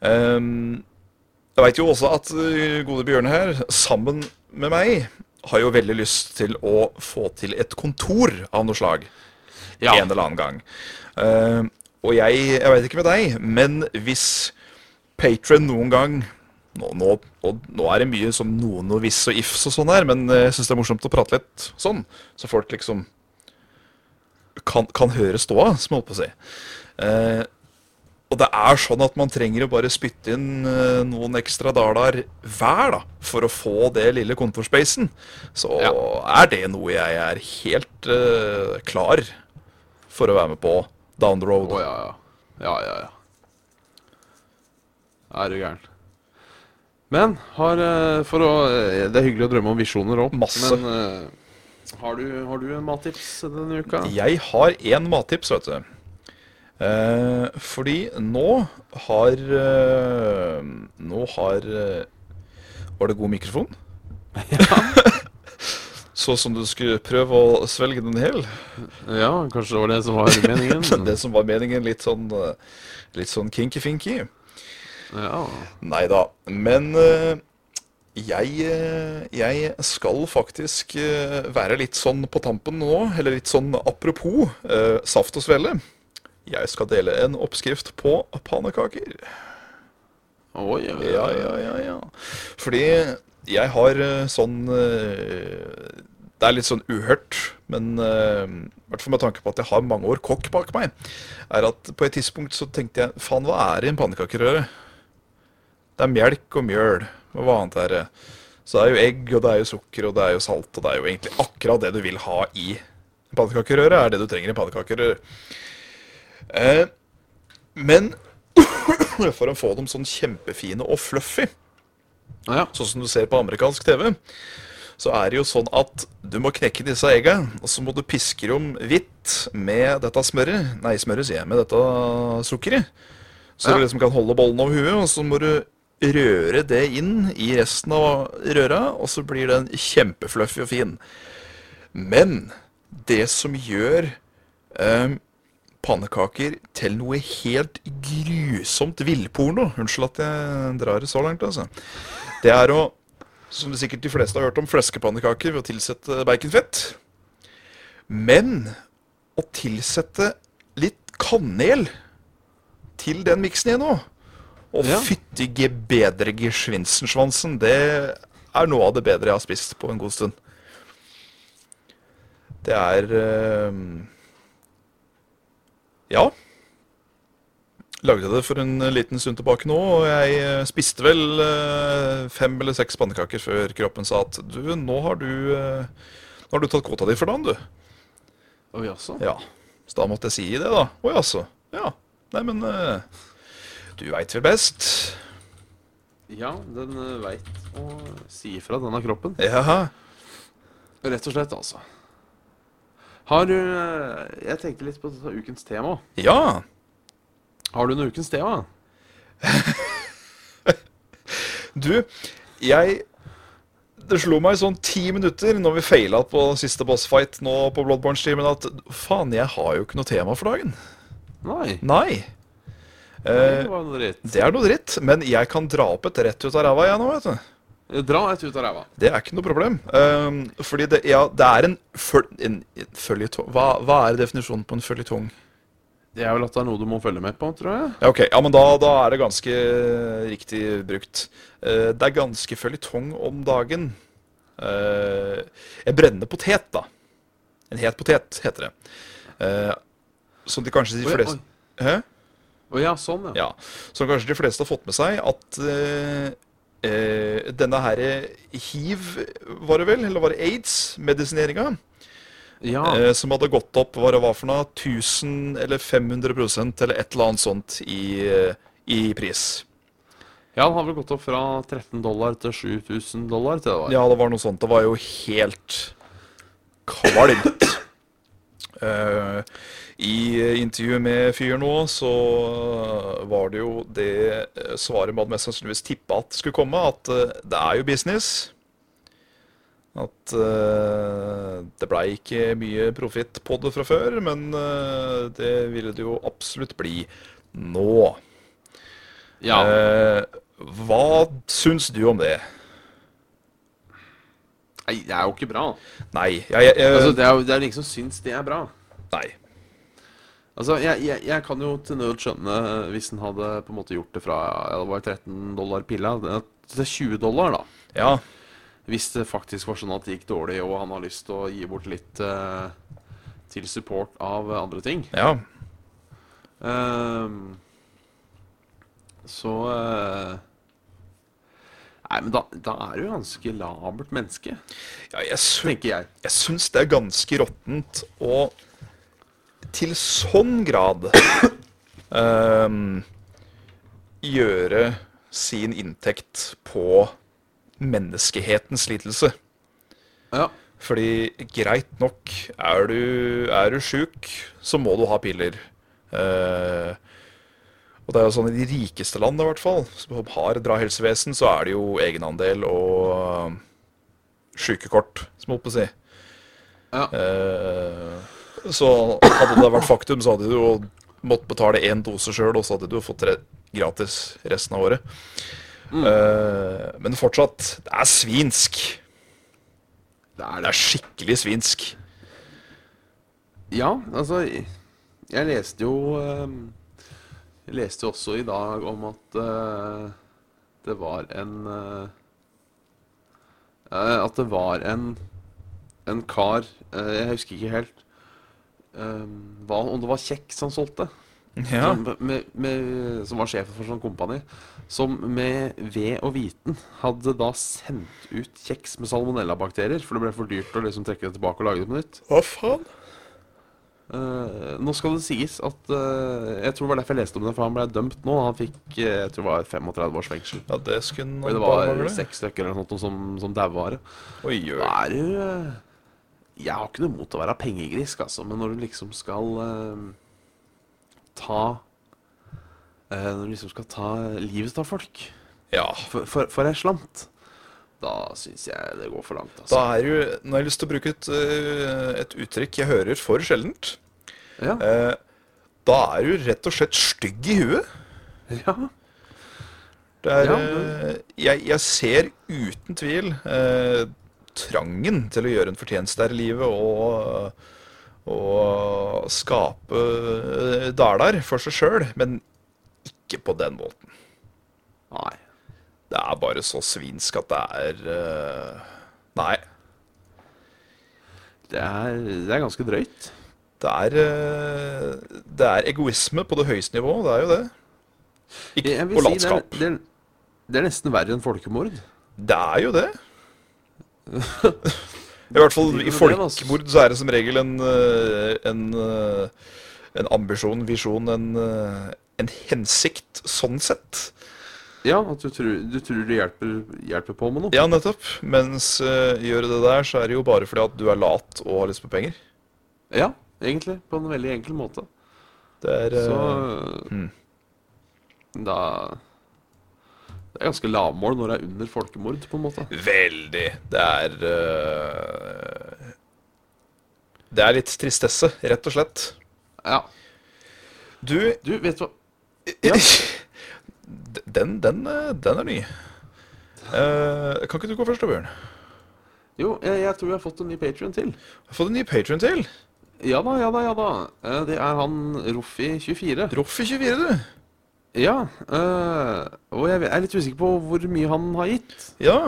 Eh, jeg veit jo også at eh, gode Bjørne her, sammen med meg, har jo veldig lyst til å få til et kontor av noe slag
ja.
en eller annen gang. Eh, og jeg, jeg veit ikke med deg, men hvis Patron noen gang nå, nå, og nå er det mye som noen og hvis og ifs og sånn her, men eh, jeg syns det er morsomt å prate litt sånn, så folk liksom kan, kan høre ståa, som jeg holdt på å si. Eh, og det er sånn at man trenger å bare spytte inn eh, noen ekstra daler hver, da, for å få det lille kontorspacen. Så er det noe jeg er helt eh, klar for å være med på down the road.
Å ja, ja. Ja, ja, ja. Er du gæren. Men har eh, For å eh, Det er hyggelig å drømme om visjoner òg.
Masse.
Men eh, har, du, har du en mattips denne uka?
Jeg har én mattips, vet du. Eh, fordi nå har eh, Nå har eh, Var det god mikrofon? Så som du skulle prøve å svelge den hel?
Ja, kanskje det var det som var meningen?
Det som var meningen, litt sånn, eh, litt sånn kinky-finky.
ja.
Nei da. Men eh, jeg, eh, jeg skal faktisk eh, være litt sånn på tampen nå, eller litt sånn apropos eh, saft og svelle. Jeg skal dele en oppskrift på pannekaker.
Oi, oi, oi.
Ja, ja, ja, ja. Fordi jeg har eh, sånn eh, Det er litt sånn uhørt, men eh, i hvert fall med tanke på at jeg har mange år kokk bak meg, er at på et tidspunkt så tenkte jeg faen, hva er det i en pannekakerøre? Det er melk og mjøl. Men hva annet er det? Så det er jo egg, og det er jo sukker, og det er jo salt, og det er jo egentlig akkurat det du vil ha i en pannekakerøre, er det du trenger i en pannekakerøre. Eh, men for å få dem sånn kjempefine og fluffy,
ja.
sånn som du ser på amerikansk TV, så er det jo sånn at du må knekke disse egga, og så må du piske dem hvitt med dette smøret. Nei, smøret sier jeg, med dette sukkeret. Så
Ja.
du liksom kan holde bollen over huet, og så må du røre det inn i resten av røra, og så blir den kjempefluffy og fin. Men det som gjør eh, pannekaker til noe helt grusomt villporno. Unnskyld at jeg drar det så langt, altså. Det er å, som det sikkert de fleste har hørt om, fleskepannekaker ved å tilsette baconfett. Men å tilsette litt kanel til den miksen igjen nå, og
Ja.
fytti gebedre gesvinsensvansen, det er noe av det bedre jeg har spist på en god stund. Det er eh, ja. Lagde det for en liten stund tilbake nå, og jeg eh, spiste vel eh, fem eller seks pannekaker før kroppen sa at du, nå har du, eh, nå har du tatt kvota di for dagen, du.
Oi, jaså?
Ja. Så da måtte jeg si det, da. Å jaså. Ja. Nei, men eh, du veit vel best.
Ja, den eh, veit å si ifra, denne kroppen.
Ja.
Rett og slett, altså. Har du eh, Jeg tenkte litt på dette ukens tema.
Ja.
Har du noe ukens tema?
Du, jeg Det slo meg i sånn ti minutter når vi feila på siste bossfight nå på Bloodborne-streamen, at faen, jeg har jo ikke noe tema for dagen.
Nei.
Nei. Eh,
Det var noe dritt.
det er noe dritt, men jeg kan dra opp et rett ut av ræva, jeg nå, vet du.
Eh, Dra et ut av ræva.
Det er ikke noe problem. Ehm, fordi det, ja, det er en, føl en føljetong hva, hva er definisjonen på en føljetong?
Det er vel at det er noe du må følge med på, tror jeg.
Ja, ok. Ja, men da, da er det ganske eh, riktig brukt. Eh, det er ganske føljetong om dagen. Eh, en brennende potet, da. En het potet, heter det. Eh, som de kanskje de
Oi,
fleste
oi.
Hæ?
Å ja, sånn, ja.
Ja, Som kanskje de fleste har fått med seg, at eh, eh, denne her hiv, var det vel, eller var det aids-medisineringa,
Ja,
eh, som hadde gått opp hva det var for noe, 1000 eller 500 eller et eller annet sånt i, eh, i pris.
ja den har vel gått opp fra 13 dollar til 7000 dollar til det var.
Ja, det var noe sånt. Det var jo helt kvalmt. Eh, I intervjuet med fyren nå, så var det jo det eh, svaret man mest sannsynligvis tippa at skulle komme, at eh, det er jo business. At eh, det blei ikke mye profitt på det fra før, men eh, det ville det jo absolutt bli nå.
Ja.
Eh, hva syns du om det?
Nei, det er jo ikke bra.
Nei, jeg, jeg, jeg
Altså, det er jo det er jo ingen som syns det er bra.
Nei.
Altså, jeg, jeg, jeg kan jo til nød skjønne, eh, hvis en hadde på en måte gjort det fra ja, det var 13 dollar pilla det- til 20 dollar, da.
Ja,
Hvis det faktisk var sånn at det gikk dårlig, og han har lyst til å gi bort litt eh, til support av eh, andre ting.
ja.
Ehm, så eh, Nei, men da, da er du jo ganske labert menneske,
ja jeg, sy
tenker jeg.
jeg syns det er ganske råttent og til sånn grad ehm, gjøre sin inntekt på menneskehetens lidelse.
Ja.
Fordi greit nok, er du, er du sjuk, så må du ha piller. Eh, og det er jo sånn i de rikeste landene i hvert fall, som har et bra helsevesen, så er det jo egenandel og eh, sjukekort, som jeg holdt på å si.
Ja.
Eh, så hadde det vært faktum, så hadde du jo måttet betale én dose sjøl, og så hadde du jo fått re gratis resten av året.
Mm.
Eh, men fortsatt, det er svinsk.
Det er
Det er skikkelig svinsk.
Ja, altså Jeg leste jo ehm, Jeg leste jo også i dag om at eh, det var en eh, eh, At det var en en kar eh, Jeg husker ikke helt ehm, hva, om det var kjeks han solgte.
Ja.
Som, med, med, som var sjefen for sånn kompani. Som med ved og viten hadde da sendt ut kjeks med salmonellabakterier. For det ble for dyrt å liksom trekke det tilbake og lage det på nytt.
Hva faen?
Eh, nå skal det sies at eh, Jeg tror det var derfor jeg leste om det, for han ble dømt nå. Han fikk eh, jeg tror det var 35 års fengsel.
Ja, det skulle han
Fordi det
bare
var
mangle.
seks stykker eller noe sånt som, som daua av det.
Oi, oi.
Da er du eh, Jeg har ikke noe mot å være pengegrisk, altså, men når du liksom skal eh, ta eh, Når du liksom skal ta livet av folk
Ja.
for, for, for ei slant, da syns jeg det går for langt,
Da
altså.
er jo Nå har jeg lyst til å bruke et, eh, et uttrykk jeg hører for sjeldent.
Ja,
Eh, Da er du rett og slett stygg i huet.
ja.
Det er,
Ja,
eh, jeg, jeg ser uten tvil eh, trangen til å gjøre en fortjeneste her i livet og, og skape eh, daler for seg sjøl, men ikke på den måten.
Nei.
Det er bare så svinsk at det er eh, Nei.
Det er, det er ganske drøyt.
Det er, eh, det er egoisme på det høyeste nivå, det er jo det. Ikke,
Jeg vil
og
si det er,
latskap.
det, er, det er nesten verre enn folkemord.
Det er jo det. I hvert fall
Det er
i
jo det, altså.
folkemord så er det som regel en, eh, en, eh, en ambisjon, visjon, en, eh, en hensikt sånn sett.
Ja, at du tror, du tror det hjelper, hjelper på med noe.
Ja, nettopp. Mens eh, gjør du det der, så er det jo bare fordi at du er lat og har lyst på penger.
Ja, egentlig. På en veldig enkel måte.
Det er eh,
Så
mm.
da Det er ganske lavmål når det er under folkemord, på en måte.
Veldig. Det er eh, Det er litt tristesse, rett og slett.
Ja.
Du
Du, vet du hva
Den, den, eh, den er ny. Eh, kan ikke du gå først, da, Bjørn?
Jo, jeg, jeg tror jeg har fått en ny patron til.
Jeg har fått en ny patron til.
Ja da, ja da, ja da. Eh, Det er han Roffi24.
Roffi24, du.
Ja. eh, Og jeg er litt usikker på hvor mye han har gitt,
Ja.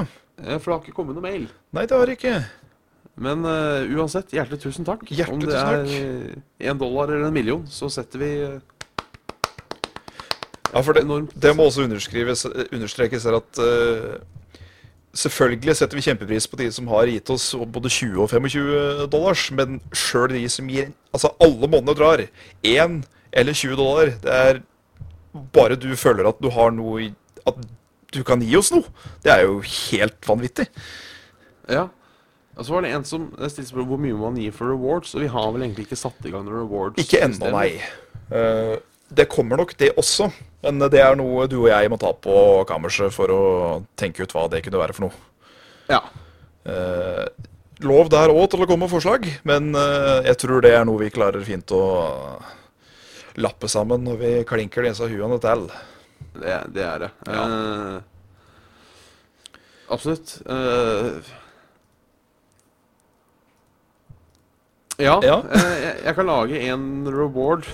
eh, for det har ikke kommet noe mail.
Nei, det har jeg ikke.
Men eh, uansett, hjertelig tusen takk.
Hjertelig
Om det
tusen
er eh, en dollar eller en million, så setter vi eh,
Ja, for det,
Enormt.
det må også underskrives, eh, understrekes her at eh, selvfølgelig setter vi kjempepris på de som har gitt oss både 20 og 25 dollars, men sjøl de som gir Altså, alle månedene drar. Én eller 20 dollar. Det er bare du føler at du har noe i- At du kan gi oss noe. Det er jo helt vanvittig.
Ja. Og så var det en som stilte spørsmål om hvor mye man gir for rewards, og vi har vel egentlig ikke satt i gang noen rewards.
Ikke ennå, nei. Eh, det kommer nok, det også. Men det er noe du og jeg må ta på kammerset for å tenke ut hva det kunne være for noe.
Ja.
Eh, lov der òg til å komme med forslag, men eh, jeg tror det er noe vi klarer fint å lappe sammen når vi klinker disse huene til.
Det, det er det. Eh, absolutt. Eh, ja,
Ja.
eh, jeg, jeg kan lage en reward.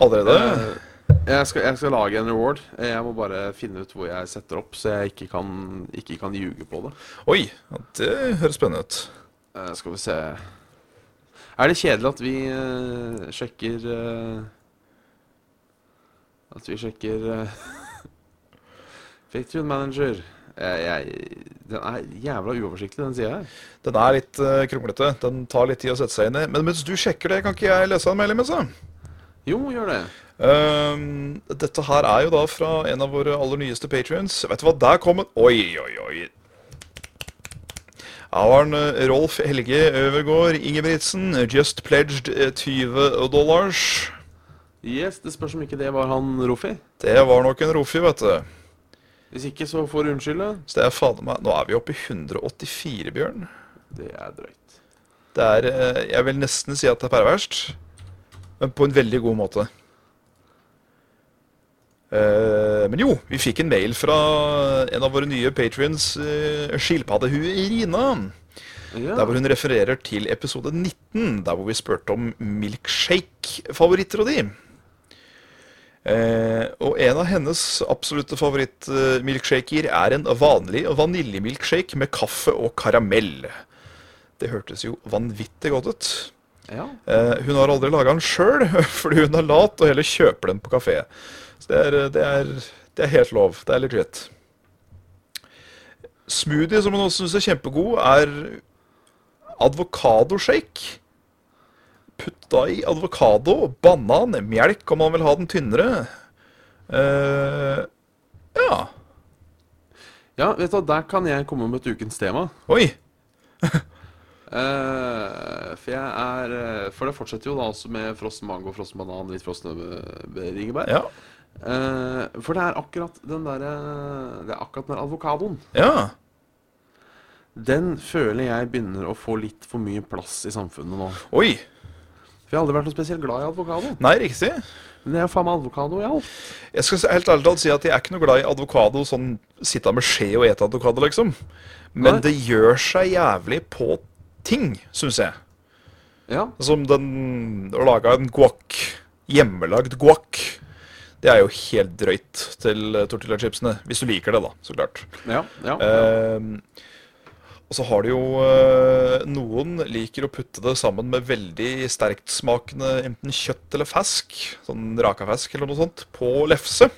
Allerede?
Eh, jeg, skal, jeg skal lage en reward. Eh, Jeg må bare finne ut hvor jeg setter opp, så jeg ikke kan, ikke kan ljuge på det.
Oi, ja, det høres spennende ut.
Eh, skal vi se Er det kjedelig at vi eh, sjekker eh, At vi sjekker uh, Factory Manager. Jeg, jeg, den er jævla uoversiktlig, den sida her.
Den er litt eh, kronglete. Den tar litt tid å sette seg inn i. Men mens du sjekker det, kan ikke jeg lese en melding? mens da?
Jo, gjør det.
Ehm, dette her er jo da fra en av våre aller nyeste patrions. Vet du hva, der kom en Oi, oi, oi. Her var en eh, Rolf Helge Øvergård Ingebrigtsen. Just pledged eh, 20 dollars.
Yes, Det spørs om ikke det var han Rofi.
Det var nok en rofi, vet du.
Hvis ikke, så får du unnskylde.
Så det er fader meg Nå er vi oppe i 184, Bjørn.
Det er drøyt.
Det er eh, Jeg vil nesten si at det er perverst, men på en veldig god måte. Eh, men jo, vi fikk en mail fra en av våre nye patrions, uh, skilpaddehue Irina.
Ja.
Der hvor hun refererer til episode 19, der hvor vi spurte om milkshake-favoritter og de. Eh, og en av hennes absolutte favorittmilkshaker er en vanlig vaniljemilkshake med kaffe og karamell. Det hørtes jo vanvittig godt ut.
ja.
Eh, hun har aldri laga den sjøl, fordi hun er lat og heller kjøper den på kafé. Så det er, det er, det er helt lov. Det er legit. Smoothie, som hun også syns er kjempegod, er advokadoshake. Putt da i advokado, banan, melk om man vil ha den tynnere. Eh, ja.
ja, vet du hva, der kan jeg komme med et ukens tema.
Oi.
Eh, for jeg er eh, For det fortsetter jo da også med frossen mango, frossen banan, litt frosne eh, bringebær.
Ja.
Eh, for det er akkurat den der eh, Det er akkurat den der avokadoen.
Ja.
Den føler jeg begynner å få litt for mye plass i samfunnet nå.
Oi.
For jeg har aldri vært noe spesielt glad i avokado.
Nei, riktig.
Men det er jo faen meg avokado i alt.
Jeg skal si- helt ærlig talt si at jeg er ikke noe glad i advokado, sånn sitte med skje og ete advokado, liksom. Men
Nei.
det gjør seg jævlig på ting, syns jeg.
Ja.
Som den å lage en guac. Hjemmelagd guac. Det er jo helt drøyt til eh, tortillachipsene. Hvis du liker det, da, så klart.
Ja. ja.
Ehm, og så har du jo eh, Noen liker å putte det sammen med veldig sterkt smakende enten kjøtt eller fisk, sånn raka fisk eller noe sånt, på lefse.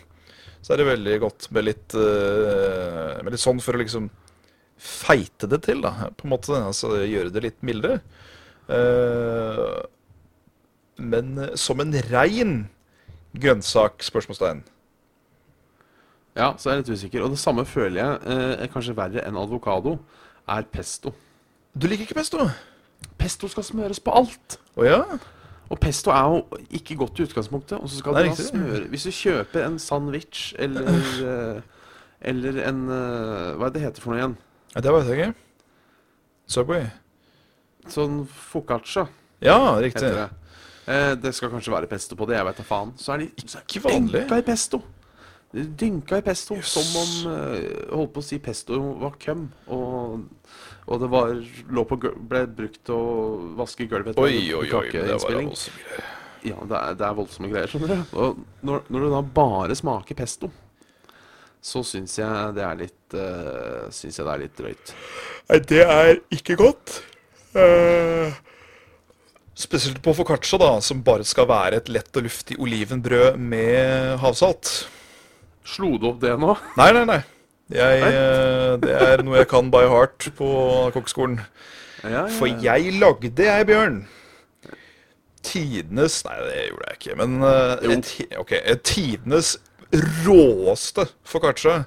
Så er det veldig godt med litt, eh, med litt sånn for å liksom feite det til, da, på en måte. Altså gjøre det litt mildere. Eh, men eh, som en rein grønnsak? spørsmålstegn.
ja, så er jeg litt usikker. Og det samme føler jeg, eh, er kanskje verre enn avokado, er pesto.
Du liker ikke pesto? Å
Pesto skal smøres på alt.
ja?
Og pesto er jo ikke godt i utgangspunktet. Og så skal
Nei,
du da
riktig.
smøre Hvis du kjøper en sandwich eller eh, Eller en eh, Hva er det det heter for noe igjen?
Ja, det vet jeg ikke. Subway.
Sånn foccaccia
Ja, riktig.
heter det. Eh, det skal kanskje være pesto på det, jeg veit da faen. Så er de så er de
Ikke vanlig.
dynka i pesto. De er Dynka i pesto.
Jøss.
Som om eh, Holdt på å si pesto var køm, og, og det var, lå på, gul- ble brukt til å vaske gulvet etter
Oi,
en
oi, oi. men Det var da
kakeinnspilling.
også mye.
Ja, det er, det er voldsomme greier, skjønner du. Og når, når det da bare smaker pesto, så syns jeg det er litt uh, Syns jeg det er litt drøyt.
Nei, det er ikke godt.
Eh, Spesielt på foccaccia, da, som bare skal være et lett og luftig olivenbrød med havsalt.
Slo du opp det nå?
Nei, nei, nei. Jeg, eh, det er noe jeg kan by heart på kokkeskolen.
Ja, ja,
For jeg lagde, jeg, Bjørn Tidenes Nei, det gjorde jeg ikke, men eh,
Jo.
et, ti- ok, et tidenes råeste foccaccia.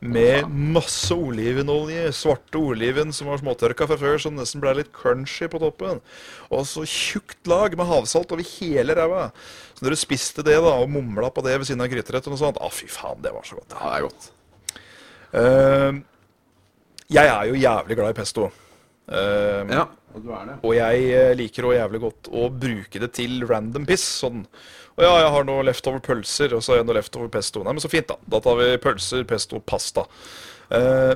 Med masse olivenolje. Svarte oliven som var småtørka fra før, som nesten ble litt crunchy på toppen. Og så tjukt lag med havsalt over hele ræva. Så når du spiste det da, og mumla på det ved siden av gryterett og noe sånt, ah, fy faen, det var så godt.
ja, det er godt.
Eh, jeg er jo jævlig glad i pesto. Eh,
Ja. Og du er det.
og jeg eh, liker også jævlig godt å bruke det til random piss. Sånn. Og ja, jeg har noe leftover pølser, og så har jeg noe leftover pesto. Nei, men så fint, da. Da tar vi pølser, pesto, pasta. Eh,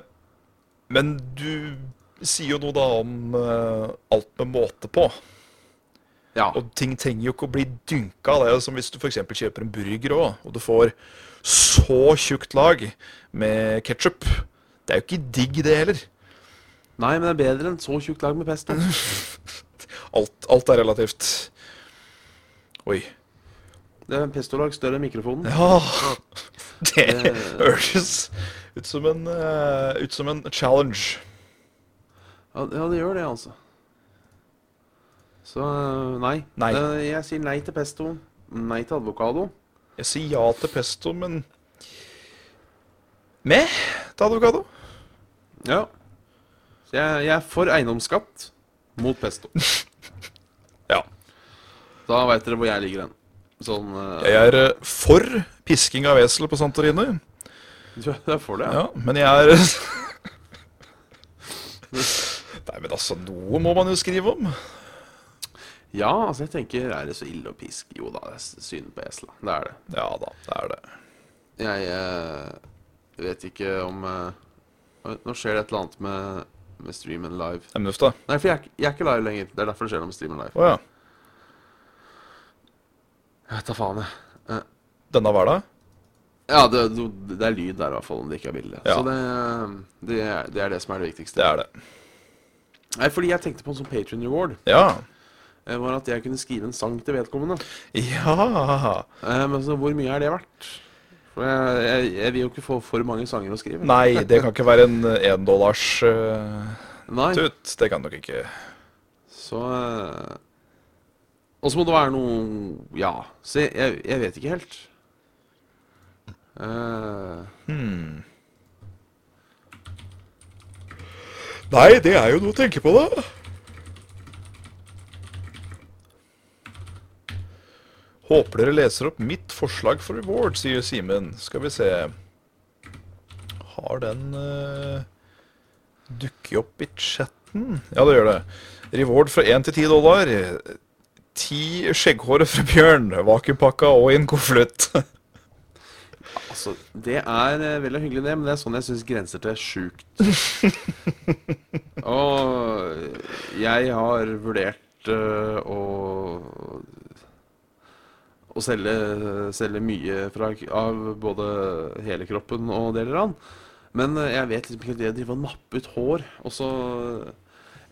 men du sier jo noe da om eh, alt med måte på.
Ja.
Og ting trenger jo ikke å bli dynka. Det er jo som hvis du f.eks. kjøper en burger òg, og du får så tjukt lag med ketsjup. Det er jo ikke digg, det heller.
Nei, men det er bedre enn så tjukt lag med pesto.
Alt, alt er relativt. Oi.
Det er en pestolag større enn mikrofonen.
Ja, det
Det-
høres ut som en, eh, ut som en challenge.
Ja, ja, det gjør det, altså. Så eh, nei.
Nei.
Eh, Jeg sier nei til pesto. Nei til advokado.
Jeg sier ja til pesto, men med til advokado.
Ja. Så jeg, jeg er for eiendomsskatt mot pesto.
Ja.
Da veit dere hvor jeg ligger hen. Sånn eh,
Jeg er eh, for pisking av esel på Santorini,
Du er for det?
ja, men jeg er Nei, men altså, noe må man jo skrive om.
Ja, altså jeg tenker Er det så ille å piske? Jo da, det er s- synd på esla. Det er det.
Ja da, det er det.
Jeg eh, vet ikke om eh, Nå skjer det et eller annet med, med streamen live.
Emnuff, da.
Nei, for jeg, er ikke- jeg er ikke live lenger. Det er derfor det skjer noe med streamen live.
Å ja.
Jeg vet da faen, jeg. Eh,
Denne hverdag?
Ja, det, det det er lyd der i hvert fall, om det ikke er bilde.
Ja.
Så det, det, er- det er det som er det viktigste.
Det er det.
Nei, fordi jeg tenkte på en sånn patron reward.
Ja.
eh, Var at jeg kunne skrive en sang til vedkommende.
Ja
Eh, Men så hvor mye er det verdt? For jeg, jeg, jeg vil jo ikke få for mange sanger å skrive.
Nei, det kan ikke være en éndollars uh,
Nei.
tut. Det kan nok ikke
Så eh, Og så må det være noe Ja. Så jeg, jeg, jeg vet ikke helt. Eh,
Nei, det er jo noe å tenke på, da.
Håper dere leser opp mitt forslag for reward, sier Simen. Skal vi se Har den uh, dukket opp i chatten? Ja, det gjør det. Reward fra 1 til 10 dollar. Ti skjegghåret fra Bjørn, vakuumpakka og i en konvolutt.
altså, det er eh, veldig hyggelig, det, men det er sånn jeg syns grenser til sjukt. og jeg har vurdert eh, å å selge, selge mye fra, av både hele kroppen og deler av den. Men eh, jeg vet liksom ikke det å drive og nappe ut hår. Og så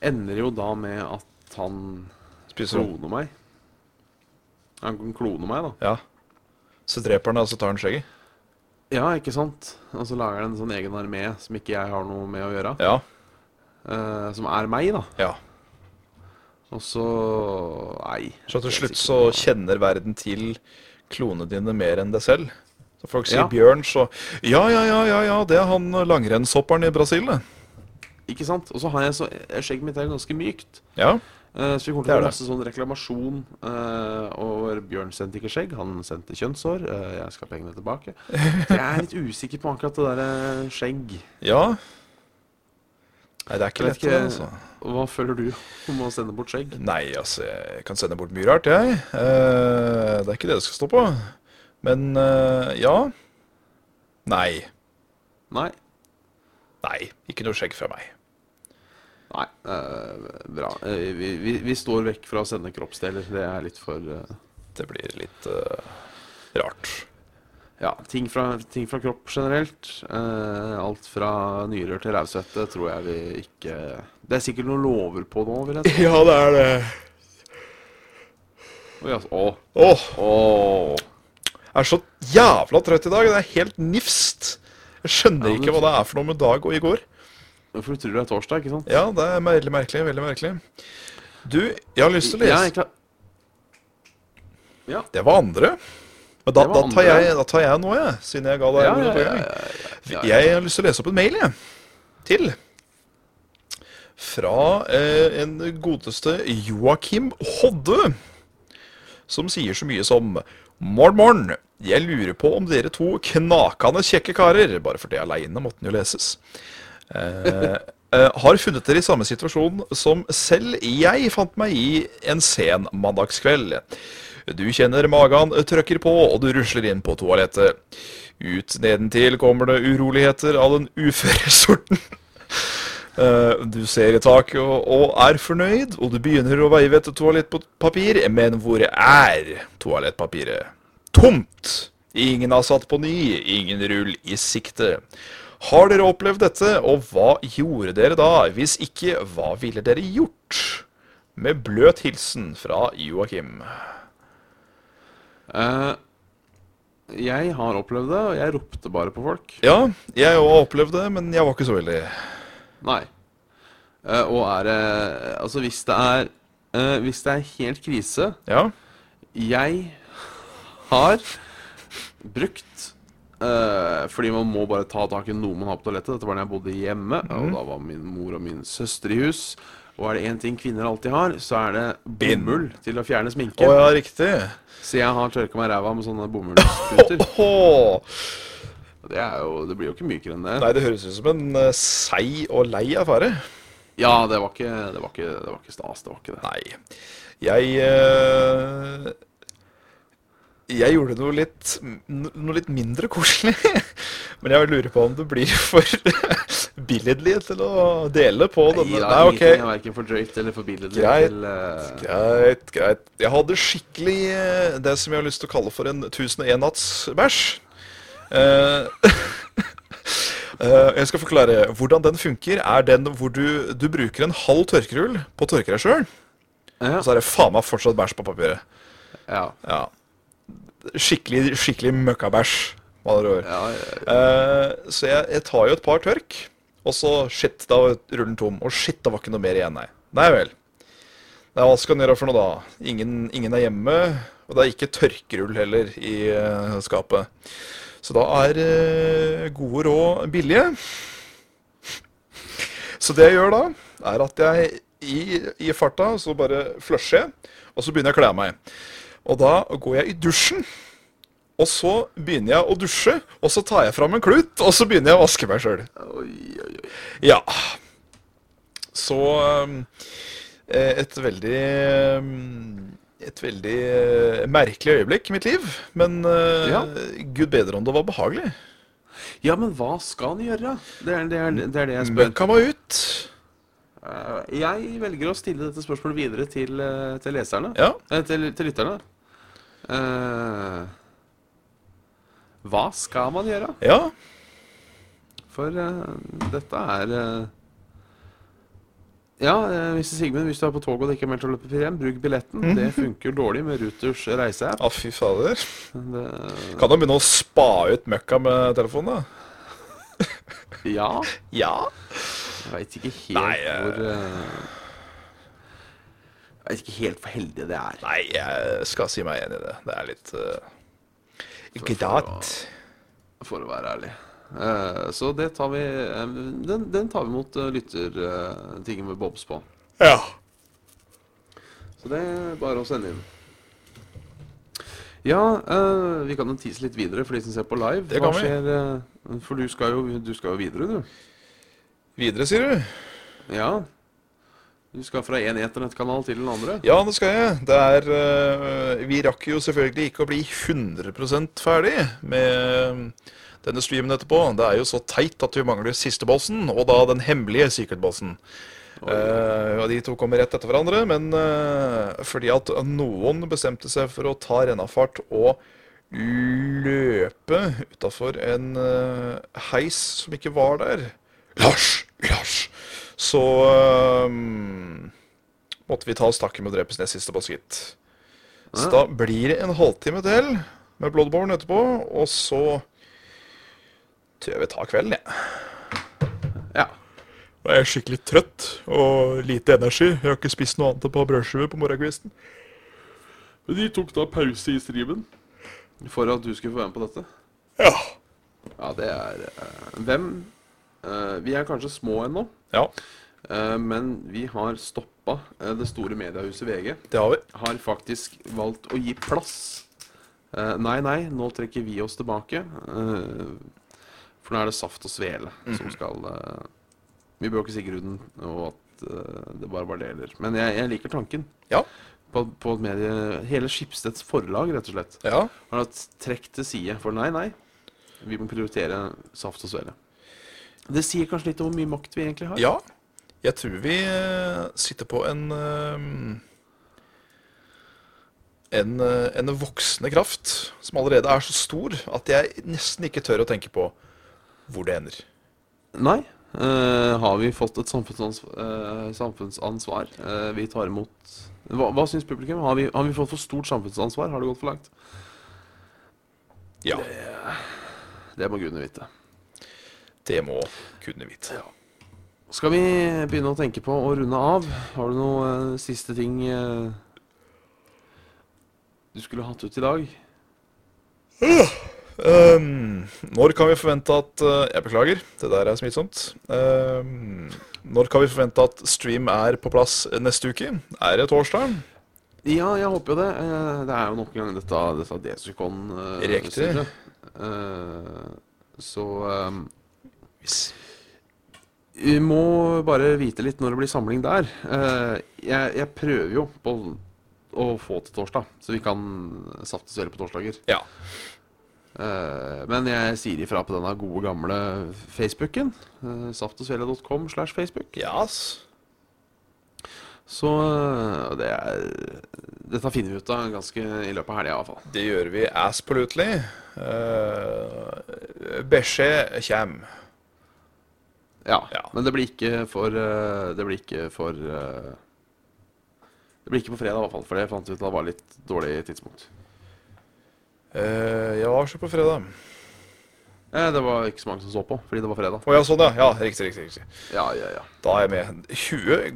ender det jo da med at han
Spiser hun.
kloner meg. Han kan klone meg, da.
Ja. Så dreper han deg, og så tar han skjegget.
Ja, ikke sant? Og så lager han en sånn egen armé som ikke jeg har noe med å gjøre.
Ja.
eh, som er meg, da.
ja.
Og så Nei.
Så
jeg
til
vet
slutt
ikke
så
hva-
kjenner verden til klonene dine mer enn deg selv. Så folk sier
Ja.
Bjørn, så Ja, ja, ja, ja, ja, det er han langrennshopperen i Brasil, det.
Ikke sant? Og så har jeg så eh, Skjegget mitt er ganske mykt.
Ja.
Eh, Så vi kommer til å
Det er
få
det.
masse sånn reklamasjon eh, over Bjørn sendte ikke skjegg, han sendte kjønnshår. eh, jeg skal ha pengene tilbake. eh, Så jeg er litt usikker på akkurat det derre skjegg.
Ja. Nei, det er ikke
Jeg vet
lett, det,
ikke-
altså.
Hva føler du om å sende bort skjegg?
Nei, altså, jeg kan sende bort mye rart, jeg. Eh, det er ikke det det skal stå på. Men eh, ja. Nei.
Nei.
Nei, ikke noe skjegg fra meg.
Nei. eh, bra. Eh, vi, vi, vi står vekk fra å sende kroppsdeler. Det er litt for eh,
Det blir litt eh, rart.
Ja, ting fra, ting fra kropp generelt. Eh, alt fra nyrer til rævsvette tror jeg vi ikke Det er sikkert noen lover på nå, vil jeg si.
Ja, det er det.
Oi, altså. Å,
Åh,
å.
jeg er så jævla trøtt i dag. Det er helt nifst. Jeg skjønner
Ja, men-
ikke hva det er for noe med dag og i går.
For du tror det er torsdag, ikke sant?
Ja, det er veldig merkelig. Veldig merkelig. Du, jeg har lyst til å
Ja,
lese
jeg klar...
Det var andre. Men da,
Det var
da, tar,
andre.
jeg, da tar jeg nå, jeg. Siden jeg ga deg
Ja,
ordet
ja,
forrige
ja,
gang.
ja, ja.
Jeg har lyst til å lese opp en mail, jeg. Til. Fra eh, en godeste Joakim Hodde. Som sier så mye som Morn, morn. Jeg lurer på om dere to knakende kjekke karer Bare for det aleine måtte den jo leses. Eh, eh, har funnet dere i samme situasjon som selv jeg fant meg i en sen mandagskveld. Du kjenner magen trøkker på, og du rusler inn på toalettet. Ut nedentil kommer det uroligheter av den uføre sorten. Eh, Du ser i taket og- og er fornøyd, og du begynner å veive etter toalettpapir, men hvor er toalettpapiret? Tomt! Ingen har satt på ny, ingen rull i sikte. Har dere opplevd dette, og hva gjorde dere da? Hvis ikke, hva ville dere gjort? Med bløt hilsen fra Joakim.
Eh, jeg har opplevd det, og jeg ropte bare på folk.
Ja, jeg òg har opplevd det, men jeg var ikke så veldig
Nei. Eh, og er det Altså, hvis det er eh, Hvis det er helt krise
Ja.
Jeg har brukt eh, Fordi man må bare ta tak i noe man har på toalettet. Dette var da jeg bodde hjemme,
Mhm.
og da var min mor og min søster i hus. Og er det én ting kvinner alltid har, så er det
Bind.
bomull til å fjerne
Å
sminke.
ja, riktig.
Så jeg har tørka meg ræva med sånne bomullsputer.
Åh.
Det, er jo, det blir jo ikke mykere enn det.
Nei, det høres ut som en eh, seig og lei affære.
Ja, det var ikke, det var ikke, det var ikke stas. Det var ikke det.
Nei. Jeg eh, Jeg gjorde noe litt, no- noe litt mindre koselig. Men jeg lurer på om du blir for billedlig til å dele på
Nei,
denne.
da,
Nei,
ingenting er
OK.
verken for drøyt eller for billedlig
Greit.
til eh,
Greit, greit. Jeg hadde skikkelig eh, det som jeg har lyst til å kalle for en 1001 natts bæsj. Eh, eh, jeg skal forklare hvordan den funker. Er den hvor du, du bruker en halv tørkerull på å tørke deg sjøl, og så er det faen meg fortsatt bæsj på papiret.
Ja.
Ja. Skikkelig, skikkelig møkkabæsj. med andre ord.
ja, ja,
Eh, så jeg, jeg tar jo et par tørk, og så shit, da var rullen tom. Og shit, det var ikke noe mer igjen, nei. Nei vel. Nei, hva skal en gjøre for noe da? Ingen, ingen er hjemme, og det er ikke tørkerull heller i eh, skapet. Så da er eh, gode råd billige. Så det jeg gjør da, er at jeg i, i farta så bare flusher jeg, og så begynner jeg å kle av meg. Og da går jeg i dusjen. Og så begynner jeg å dusje, og så tar jeg fram en klut, og så begynner jeg å vaske meg sjøl.
Oi, oi, oi.
Ja. Så um, eh, et veldig um, Et veldig eh, merkelig øyeblikk i mitt liv. Men eh,
Ja.
gud bedre om det var behagelig.
Ja, men hva skal han gjøre? Det er det, er, det, er det jeg spør.
Møkka meg ut.
Eh, Jeg velger å stille dette spørsmålet videre til, eh, til leserne.
Ja.
Eh, til, til lytterne. Eh, hva skal man gjøre?
ja.
For eh, dette er eh, Ja, eh, Mr. Sigmund, hvis du er på toget og det ikke er meldt å løpe hjem, bruk billetten. Det funker dårlig med Ruters reiseapp.
Å, fy fader.
Det-
Kan du begynne å spa ut møkka med telefonen, da?
Ja.
Ja.
Jeg veit ikke helt
Nei, eh.
hvor eh, Jeg veit ikke helt hvor heldig det er.
Nei, jeg skal si meg enig i det. Det er litt uh, Greit.
For å være ærlig. Eh, så det tar vi eh, Den, den tar vi imot uh, lyttertingen med Bobs på.
Ja.
Så det er bare å sende inn. Ja, eh, vi kan jo tease litt videre for de som ser på live.
Det kan
Hva
vi.
skjer, eh, for du skal, jo, du skal jo videre, du.
Videre, sier du?
Ja. Du skal fra én internettkanal til den andre?
Ja, det skal jeg. Det er eh, Vi rakk jo selvfølgelig ikke å bli 100 ferdig med eh, denne streamen etterpå. Det er jo så teit at vi mangler siste bossen, og da den hemmelige secret-bossen. Eh, og de to kommer rett etter hverandre, men eh, fordi at noen bestemte seg for å ta rennafart og løpe utafor en eh, heis som ikke var der. Lars! Lars! Så eh, måtte vi ta oss takken med å drepe sin siste boss, gitt. Så da blir det en halvtime til med Bloodborne etterpå, og så tror jeg vi tar kvelden, jeg.
Ja.
Og jeg er skikkelig trøtt og lite energi. Jeg har ikke spist noe annet enn på brødskive på morgenkvisten.
Men de tok da pause i streamen? For at du skulle få være med på dette?
Ja.
Ja, det er eh, Hvem? Eh, vi er kanskje små ennå,
ja,
eh, men vi har stoppa eh, det store mediehuset VG.
det har vi.
har faktisk valgt å gi plass. Eh, nei, nei, nå trekker vi oss tilbake. eh, for nå er det Saft og Svele som skal eh, Vi bør ikke si grunnen, og at eh, det bare bardeler. Men jeg, jeg liker tanken
Ja.
på, på et medie Hele Skipsteds forlag, rett og slett,
Ja.
har hatt trekk til side. For nei, nei, vi må prioritere Saft og Svele. Det sier kanskje litt om hvor mye makt vi egentlig har.
ja. Jeg tror vi eh, sitter på en eh, en, eh, en voksende kraft som allerede er så stor at jeg nesten ikke tør å tenke på hvor det ender.
Nei. Eh, har vi fått et samfunnsansvar? eh, samfunnsansvar? Eh, vi tar imot Hva, hva syns publikum? Har vi, har vi fått for stort samfunnsansvar? Har det gått for langt?
Ja,
Det må gudene vite.
det må kunne vite.
Skal vi begynne å tenke på å runde av? Har du noen eh, siste ting eh, du skulle hatt ut i dag?
Ehm, når kan vi forvente at eh, Jeg beklager, det der er smittsomt. Ehm, når kan vi forvente at stream er på plass neste uke? Er det torsdag?
Ja, jeg håper jo det. Eh, Det er jo nok en gang dette, dette Desicon eh,
Riktig.
styret. Eh, Så eh,
Hvis-
Vi må bare vite litt når det blir samling der. Eh, Jeg, jeg prøver jo på å få til torsdag, så vi kan saftes veldig på torsdager.
Ja.
Eh, Men jeg sier ifra på denne gode gamle Facebooken. eh, Saftosvele.com slash Facebook.
Yes.
Så eh, det er Dette finner vi ut av ganske i løpet av helga, iallfall.
Det gjør vi absolutely. Uh, beskjed kjem.
Ja.
Ja.
Men det blir ikke for eh, Det blir ikke for eh, Det blir ikke på fredag, i hvert fall, for det fant vi ut at var litt dårlig tidspunkt.
Eh, jeg var så på fredag.
Eh, Det var ikke så mange som så på, fordi det var fredag.
Å ja, sånn ja. ja. Riktig, riktig. riktig.
Ja, ja, ja.
Da er jeg med.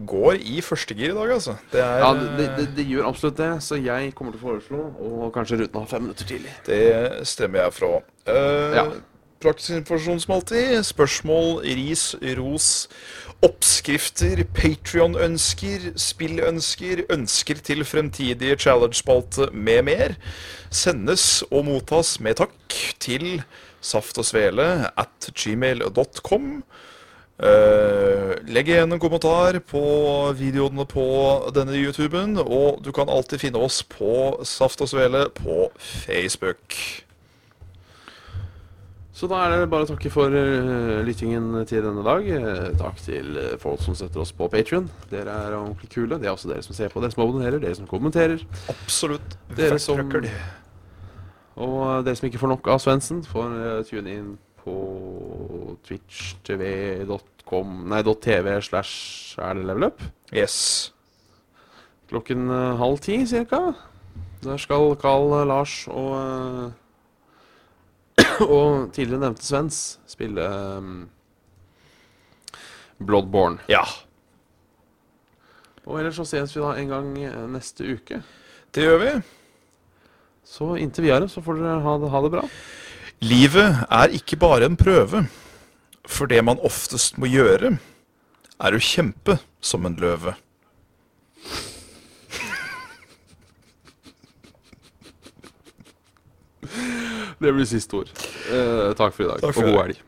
20 går i førstegir i dag, altså. Det er
ja det, det, det gjør absolutt det, så jeg kommer til å foreslå å kanskje runde av fem minutter tidlig.
Det stemmer jeg fra. Eh,
Ja.
Praktisk informasjon som alltid. Spørsmål, ris, ros, oppskrifter, Patrion-ønsker, spillønsker, ønsker til fremtidige challenge-spalte med mer sendes og mottas med takk til saftogsvele at gmail.com. Eh, legg igjen en kommentar på videoene på denne YouTuben, og du kan alltid finne oss på Saft og Svele på Facebook.
Så da er det bare å takke for eh, lyttingen til denne dag. Eh, takk til eh, folk som støtter oss på Patrion. Dere er ordentlig kule. Det er også dere som ser på, dere som abonnerer, dere som kommenterer.
Absolutt.
Dere som-
Vertrøkkel.
Og eh, dere som ikke får nok av Svendsen, får eh, tune inn på twitch.tv.com Nei, .tv slash er det level up?
Yes.
Klokken eh, halv ti cirka. Der skal Carl, eh, Lars og eh, Og tidligere nevnte Svens spille eh, Bloodborne.
Ja.
Og ellers så ses vi da en gang eh, neste uke.
Det gjør vi.
Så inntil videre så får dere ha det, ha det bra.
Livet er ikke bare en prøve, for det man oftest må gjøre, er å kjempe som en løve.
Det blir siste ord. Eh, takk for i dag,
Takk for
og god Eh,
i dag.
helg.